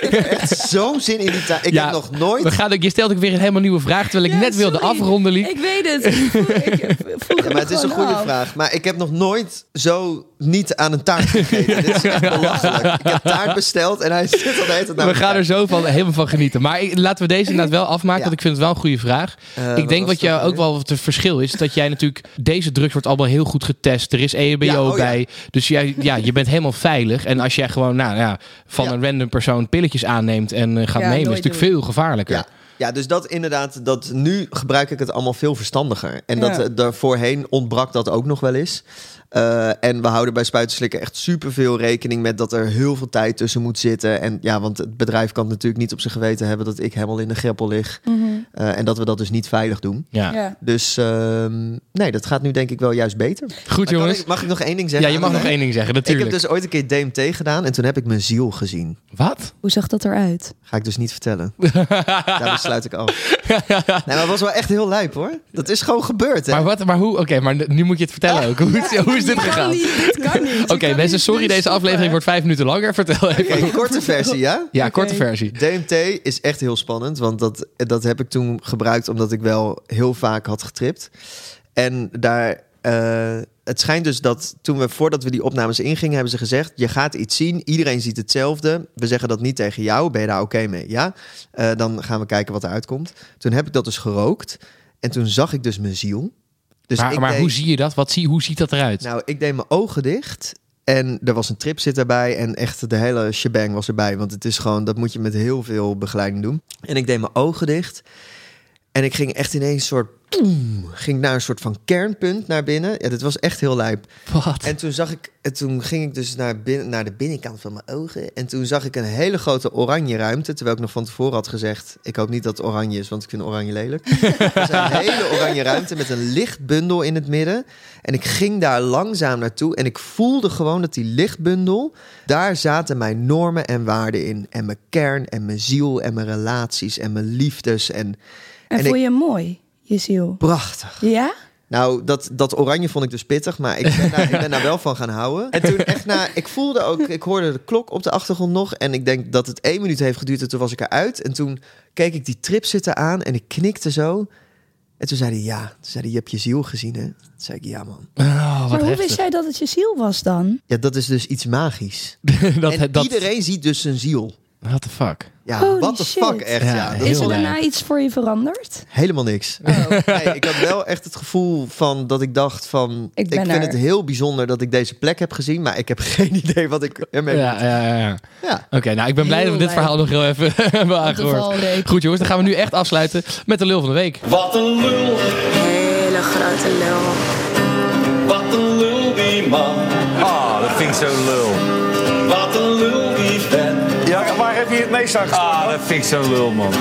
ik heb echt zo'n zin in die taart. Ik
Ja,
heb nog
We
nooit...
gaan ook, je stelt ook weer een helemaal nieuwe vraag, terwijl ik
Ja,
net wilde
sorry.
afronden liep.
Ik weet het. Ik voel- ik voel
Ja, maar het is een
gewoon
goede
af.
vraag. Maar ik heb nog nooit zo niet aan een taart gegeten. Dit is echt belachelijk. Ik heb taart besteld en hij zit al de hele tijd naar
we
me
gaan
te
er zo van, helemaal van genieten. Maar ik- laten we deze inderdaad wel afmaken,
Ja.
want ik vind het wel een goede vraag.
Eh, wat
ik denk
was
wat
dat
jou
nou
ook wel wat het verschil is, dat jij natuurlijk... Deze drugs wordt allemaal heel goed getest. Er is EHBO
Ja, oh ja.
bij. Dus jij, ja, je bent helemaal veilig. En als jij gewoon nou, ja, van
Ja.
een random persoon pilletjes aanneemt en eh, gaat
Ja,
nemen... is
nooit
natuurlijk
doen.
veel gevaarlijker.
Ja. Ja, dus dat inderdaad, dat nu gebruik ik het allemaal veel verstandiger. En dat
Ja.
eh, daarvoorheen ontbrak dat ook nog wel eens. Eh, en we houden bij Spuitenslikken echt superveel rekening met dat er heel veel tijd tussen moet zitten. En ja, want het bedrijf kan het natuurlijk niet op zijn geweten hebben dat ik helemaal in de greppel lig. Eh, en dat we dat dus niet veilig doen.
Ja.
Ja.
Dus ehm, nee, dat gaat nu denk ik wel juist beter.
Goed,
Maar kan
jongens.
ik- mag ik nog één ding
Ja,
zeggen?
je mag nog één ding zeggen,
Ik
natuurlijk.
heb dus ooit een keer DMT gedaan en toen heb ik mijn ziel gezien.
Wat?
Hoe zag dat eruit?
Ga ik dus niet vertellen. Daar sluit ik af. Nee, maar het was wel echt heel lijp hoor. Dat is gewoon gebeurd. Hè?
Maar, wat, maar hoe? Oké, maar nu moet je het vertellen ook. Hoe, is- hoe is dit gegaan? Oké, mensen, dus sorry, deze aflevering wordt vijf minuten langer. Vertel even.
Oké, korte versie, ja? Dus
Ja, korte versie.
DMT is echt heel spannend, want dat, dat heb ik toen gebruikt omdat ik wel heel vaak had getript. En daar, eh, het schijnt dus dat toen we, voordat we die opnames ingingen, hebben ze gezegd: Je gaat iets zien, iedereen ziet hetzelfde. We zeggen dat niet tegen jou, ben je daar oké mee? Ja, Eh, dan gaan we kijken wat eruit komt. Toen heb ik dat dus gerookt en toen zag ik dus mijn ziel. Dus
maar
ik
maar
deed-
hoe zie je dat? Wat zie, hoe ziet dat eruit?
Nou, ik deed mijn ogen dicht. En er was een trip zit daarbij. En echt de hele shebang was erbij. Want het is gewoon, dat moet je met heel veel begeleiding doen. En ik deed mijn ogen dicht. En ik ging echt ineens een soort boem, ging naar een soort van kernpunt naar binnen. Ja, dit was echt heel lijp.
Wat?
En toen zag ik, en toen ging ik dus naar, binnen, naar de binnenkant van mijn ogen. En toen zag ik een hele grote oranje ruimte. Terwijl ik nog van tevoren had gezegd: ik hoop niet dat het oranje is, want ik vind oranje lelijk. Dus een hele oranje ruimte met een lichtbundel in het midden. En ik ging daar langzaam naartoe. En ik voelde gewoon dat die lichtbundel. Daar zaten mijn normen en waarden in. En mijn kern en mijn ziel en mijn relaties en mijn liefdes. En
En,
En
voel
ik-
je hem mooi, je ziel?
prachtig.
Ja?
Nou, dat, dat oranje vond ik dus pittig, maar ik ben, daar, ik ben daar wel van gaan houden. En toen echt na, ik voelde ook, ik hoorde de klok op de achtergrond nog. En ik denk dat het één minuut heeft geduurd en toen was ik eruit. En toen keek ik die trip zitten aan en ik knikte zo. En toen zei hij ja. Toen zei hij, je hebt je ziel gezien hè? Toen zei ik, ja man.
Oh,
maar
wat
hoe
heftig.
wist jij dat het je ziel was dan?
Ja, dat is dus iets magisch.
dat,
en
dat,
iedereen ziet dus zijn ziel.
What the fuck?
Ja,
Holy
wat de
shit.
fuck echt.
Ja,
Ja,
heel
dat
Is er
leuk.
daarna iets voor je veranderd?
Helemaal niks.
Oh.
Nee, ik had wel echt het gevoel van dat ik dacht van...
Ik
Ik,
ben
vind
er.
het heel bijzonder dat ik deze plek heb gezien... maar ik heb geen idee wat ik ermee moet.
Ja, ja, ja. ja.
Ja.
Oké, nou, ik ben blij
Heel
dat we dit
blij.
verhaal nog heel even hebben aangehoord.
valreep.
Goed, jongens, dan gaan we nu echt afsluiten met de lul van de week.
Wat een lul,
Hele grote lul.
wat een lul die man.
Ah, dat vind ik zo lul.
Wat een lul die vent.
Ja, waar heb je het meest aan Ah, dat vind ik zo lul, man.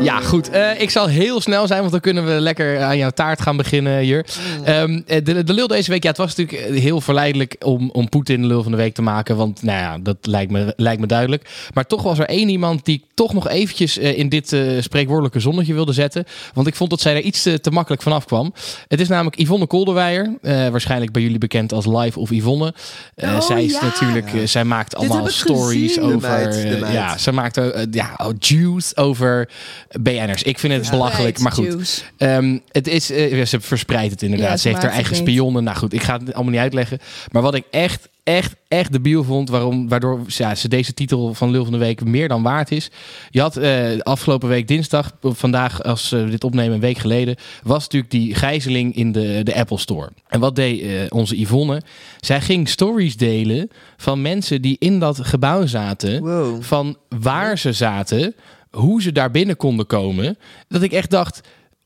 Ja, goed. Eh, ik zal heel snel zijn, want dan kunnen we lekker aan jouw taart gaan beginnen hier.
Mm.
Ehm, eh, de, de lul deze week, ja, het was natuurlijk eh, heel verleidelijk om, om Poetin de lul van de week te maken. Want nou ja, dat lijkt me, lijkt me duidelijk. Maar toch was er één iemand die ik toch nog eventjes eh, in dit eh, spreekwoordelijke zonnetje wilde zetten. Want ik vond dat zij er iets te, te makkelijk vanaf kwam. Het is namelijk Yvonne Kolderweijer. eh, waarschijnlijk bij jullie bekend als Live of Yvonne. Eh,
Oh,
zij is
ja.
natuurlijk, eh, zij maakt allemaal
heb ik
stories
gezien.
De
over.
meid, de
eh,
meid.
ja, ze maakt eh, ja, oh, juice over BN'ers. Ik vind het belachelijk, maar goed.
Juice.
Ehm, het is, eh, ja, ze verspreidt het inderdaad.
Ja,
ze
ze
heeft haar
maakt het
eigen
niet.
spionnen. Nou goed, ik ga het allemaal niet uitleggen. Maar wat ik echt, echt, echt debiel vond... Waarom, waardoor ja, ze deze titel van Lul van de Week meer dan waard is... Je had eh, afgelopen week dinsdag, vandaag als eh, we dit opnemen een week geleden... was natuurlijk die gijzeling in de, de Apple Store. En wat deed eh, onze Yvonne? Zij ging stories delen van mensen die in dat gebouw zaten...
Wow.
van waar ze zaten, hoe ze daar binnen konden komen. Dat ik echt dacht,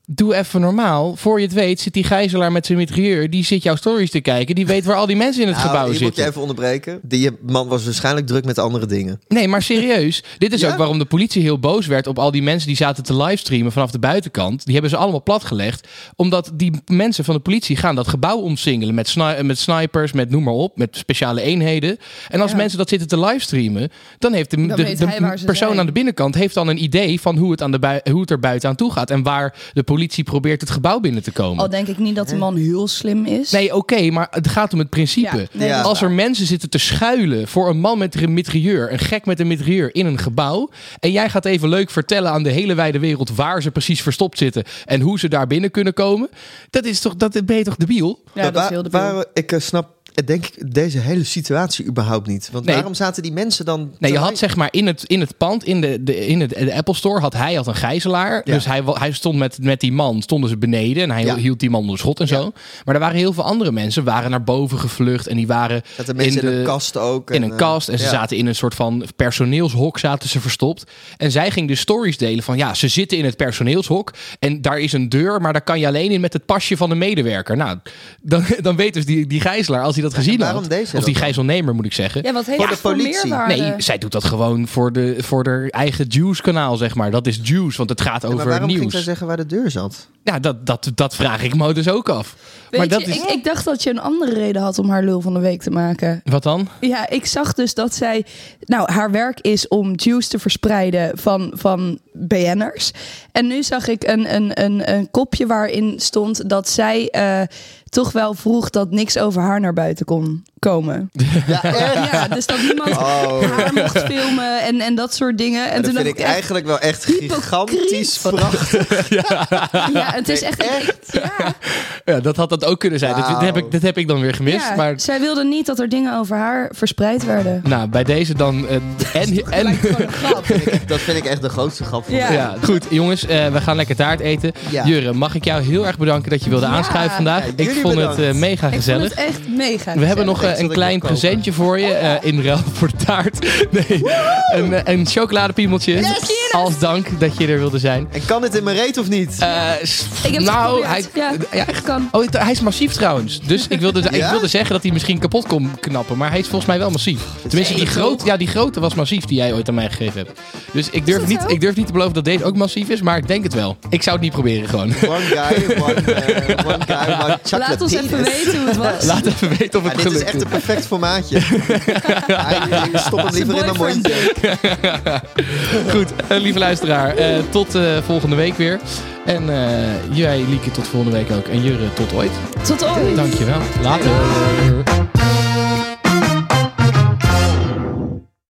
doe even normaal. Voor je het weet zit die gijzelaar met zijn mitrailleur, die zit jouw stories te kijken. Die weet waar al die mensen in het
Nou,
gebouw
hier moet je
zitten.
even onderbreken. Die man was waarschijnlijk druk met andere dingen.
Nee, maar serieus. Dit is
Ja?
ook waarom de politie heel boos werd op al die mensen die zaten te livestreamen vanaf de buitenkant. Die hebben ze allemaal platgelegd. Omdat die mensen van de politie gaan dat gebouw omsingelen. Met, sni- met snipers, met noem maar op. Met speciale eenheden. En als mensen dat zitten te livestreamen. dan heeft de, de,
weet
de
hij waar ze
persoon
zijn.
aan de binnenkant heeft dan een idee van hoe het, aan de bui- hoe het er buiten aan toe gaat. En waar de politie probeert het gebouw binnen te komen.
Al denk ik niet dat de man heel slim is.
Nee, oké, maar het gaat om het principe.
Ja,
nee, dat is
Als er mensen zitten te schuilen voor een man met een mitrailleur, een gek met een mitrailleur in een gebouw, en jij gaat even leuk vertellen aan de hele wijde wereld waar ze precies verstopt zitten en hoe ze daar binnen kunnen komen, dat is toch, dat ben je toch debiel?
Ja,
Maar
dat is
waar-
heel de bedoel.
waar- ik eh, snap, eh, denk ik, deze hele situatie überhaupt niet. Want
Nee.
waarom zaten die mensen dan...
Nee, je
te-
had zeg maar in het, in het pand, in, de, de, in het, de Apple Store, had hij had een gijzelaar.
Ja.
Dus hij, wa- hij stond met, met die man, stonden ze beneden en hij
Ja.
hield die man onder schot en zo. Maar er waren heel veel andere mensen, waren naar boven gevlucht en die waren
Zaten mensen in,
de-
een kast ook.
in een
eh,
kast. En ze
ja.
zaten in een soort van personeelshok zaten ze verstopt. En zij ging dus stories delen van ja, ze zitten in het personeelshok. En daar is een deur, maar daar kan je alleen in met het pasje van de medewerker. Nou, dan, dan weet dus die, die gijzelaar, als hij dat gezien
waarom
had.
deed zij
Of
dat
die
dan?
gijzelnemer moet ik zeggen.
Ja, wat heeft
Voor de
het voor
politie.
meerwaarde?
Nee, zij doet dat gewoon voor, de, voor haar eigen Juice-kanaal, zeg maar. Dat is Juice, want het gaat
Ja, maar
over
waarom ging
nieuws.
zij zeggen waar de deur zat?
Ja, dat, dat, dat vraag ik me dus ook af.
Weet
maar dat
je,
is...
ik, ik dacht dat je een andere reden had om haar lul van de week te maken.
Wat dan?
Ja, ik zag dus dat zij... Nou, haar werk is om juice te verspreiden van, van BN'ers. En nu zag ik een, een, een, een kopje waarin stond dat zij eh, toch wel vroeg dat niks over haar naar buiten kon komen.
Ja, echt?
Ja, dus dat niemand
Oh.
haar mocht filmen en, en dat soort dingen. En
dat
toen
vind
dacht
ik
ik echt,
eigenlijk wel echt gigantisch prachtig.
Ja, het is echt... Ja,
Ja, dat had dat ook kunnen zijn. Dat, dit, heb ik, dit heb ik dan weer gemist.
ja,
maar
zij wilde niet dat er dingen over haar verspreid werden.
Nou, bij deze dan. eh, en, en,
Dat vind ik- Dat vind ik echt de grootste grap van
Ja.
ja, goed, jongens, eh, we gaan lekker taart eten.
Ja.
Jurre, mag ik jou heel erg bedanken dat je wilde aanschuiven vandaag?
Ja,
ik
jullie
vond het eh,
bedankt.
mega
Ik vond het
gezellig.
echt mega
We hebben nog eh,
Zal
een
ik
klein
nog kopen?
presentje voor je eh, in ruil voor de taart. Nee, een, eh, een chocoladepiemeltje. als dank dat je er wilde zijn.
En kan dit in mijn reet of niet?
Eh, s-
Ik heb het
nou, hij,
geprobeerd. Ja,
ja,
het kan.
Oh, het- hij is massief trouwens. Dus ik wilde, ik
Ja?
wilde zeggen dat hij misschien kapot kon knappen. Maar hij is volgens mij wel massief. Tenminste, die, groot, ja, die grote was massief die jij ooit aan mij gegeven hebt. Dus ik durf,
dat
niet,
zo?
ik durf niet te beloven dat deze ook massief is. Maar ik denk het wel. Ik zou het niet proberen gewoon.
One guy, one, eh, one guy, one chocolate
Laat ons even weten hoe het was.
Laat even weten of
Ja,
het
dit is
gelukt
echt een perfect formaatje. Ja, ik stop hem liever in mijn
boyfriend.
mondje.
Goed, eh, lieve luisteraar. eh, tot eh, volgende week weer. En eh, jij, Lieke, tot volgende week ook. En Jurre, tot ooit.
Tot ooit.
Dankjewel. Later.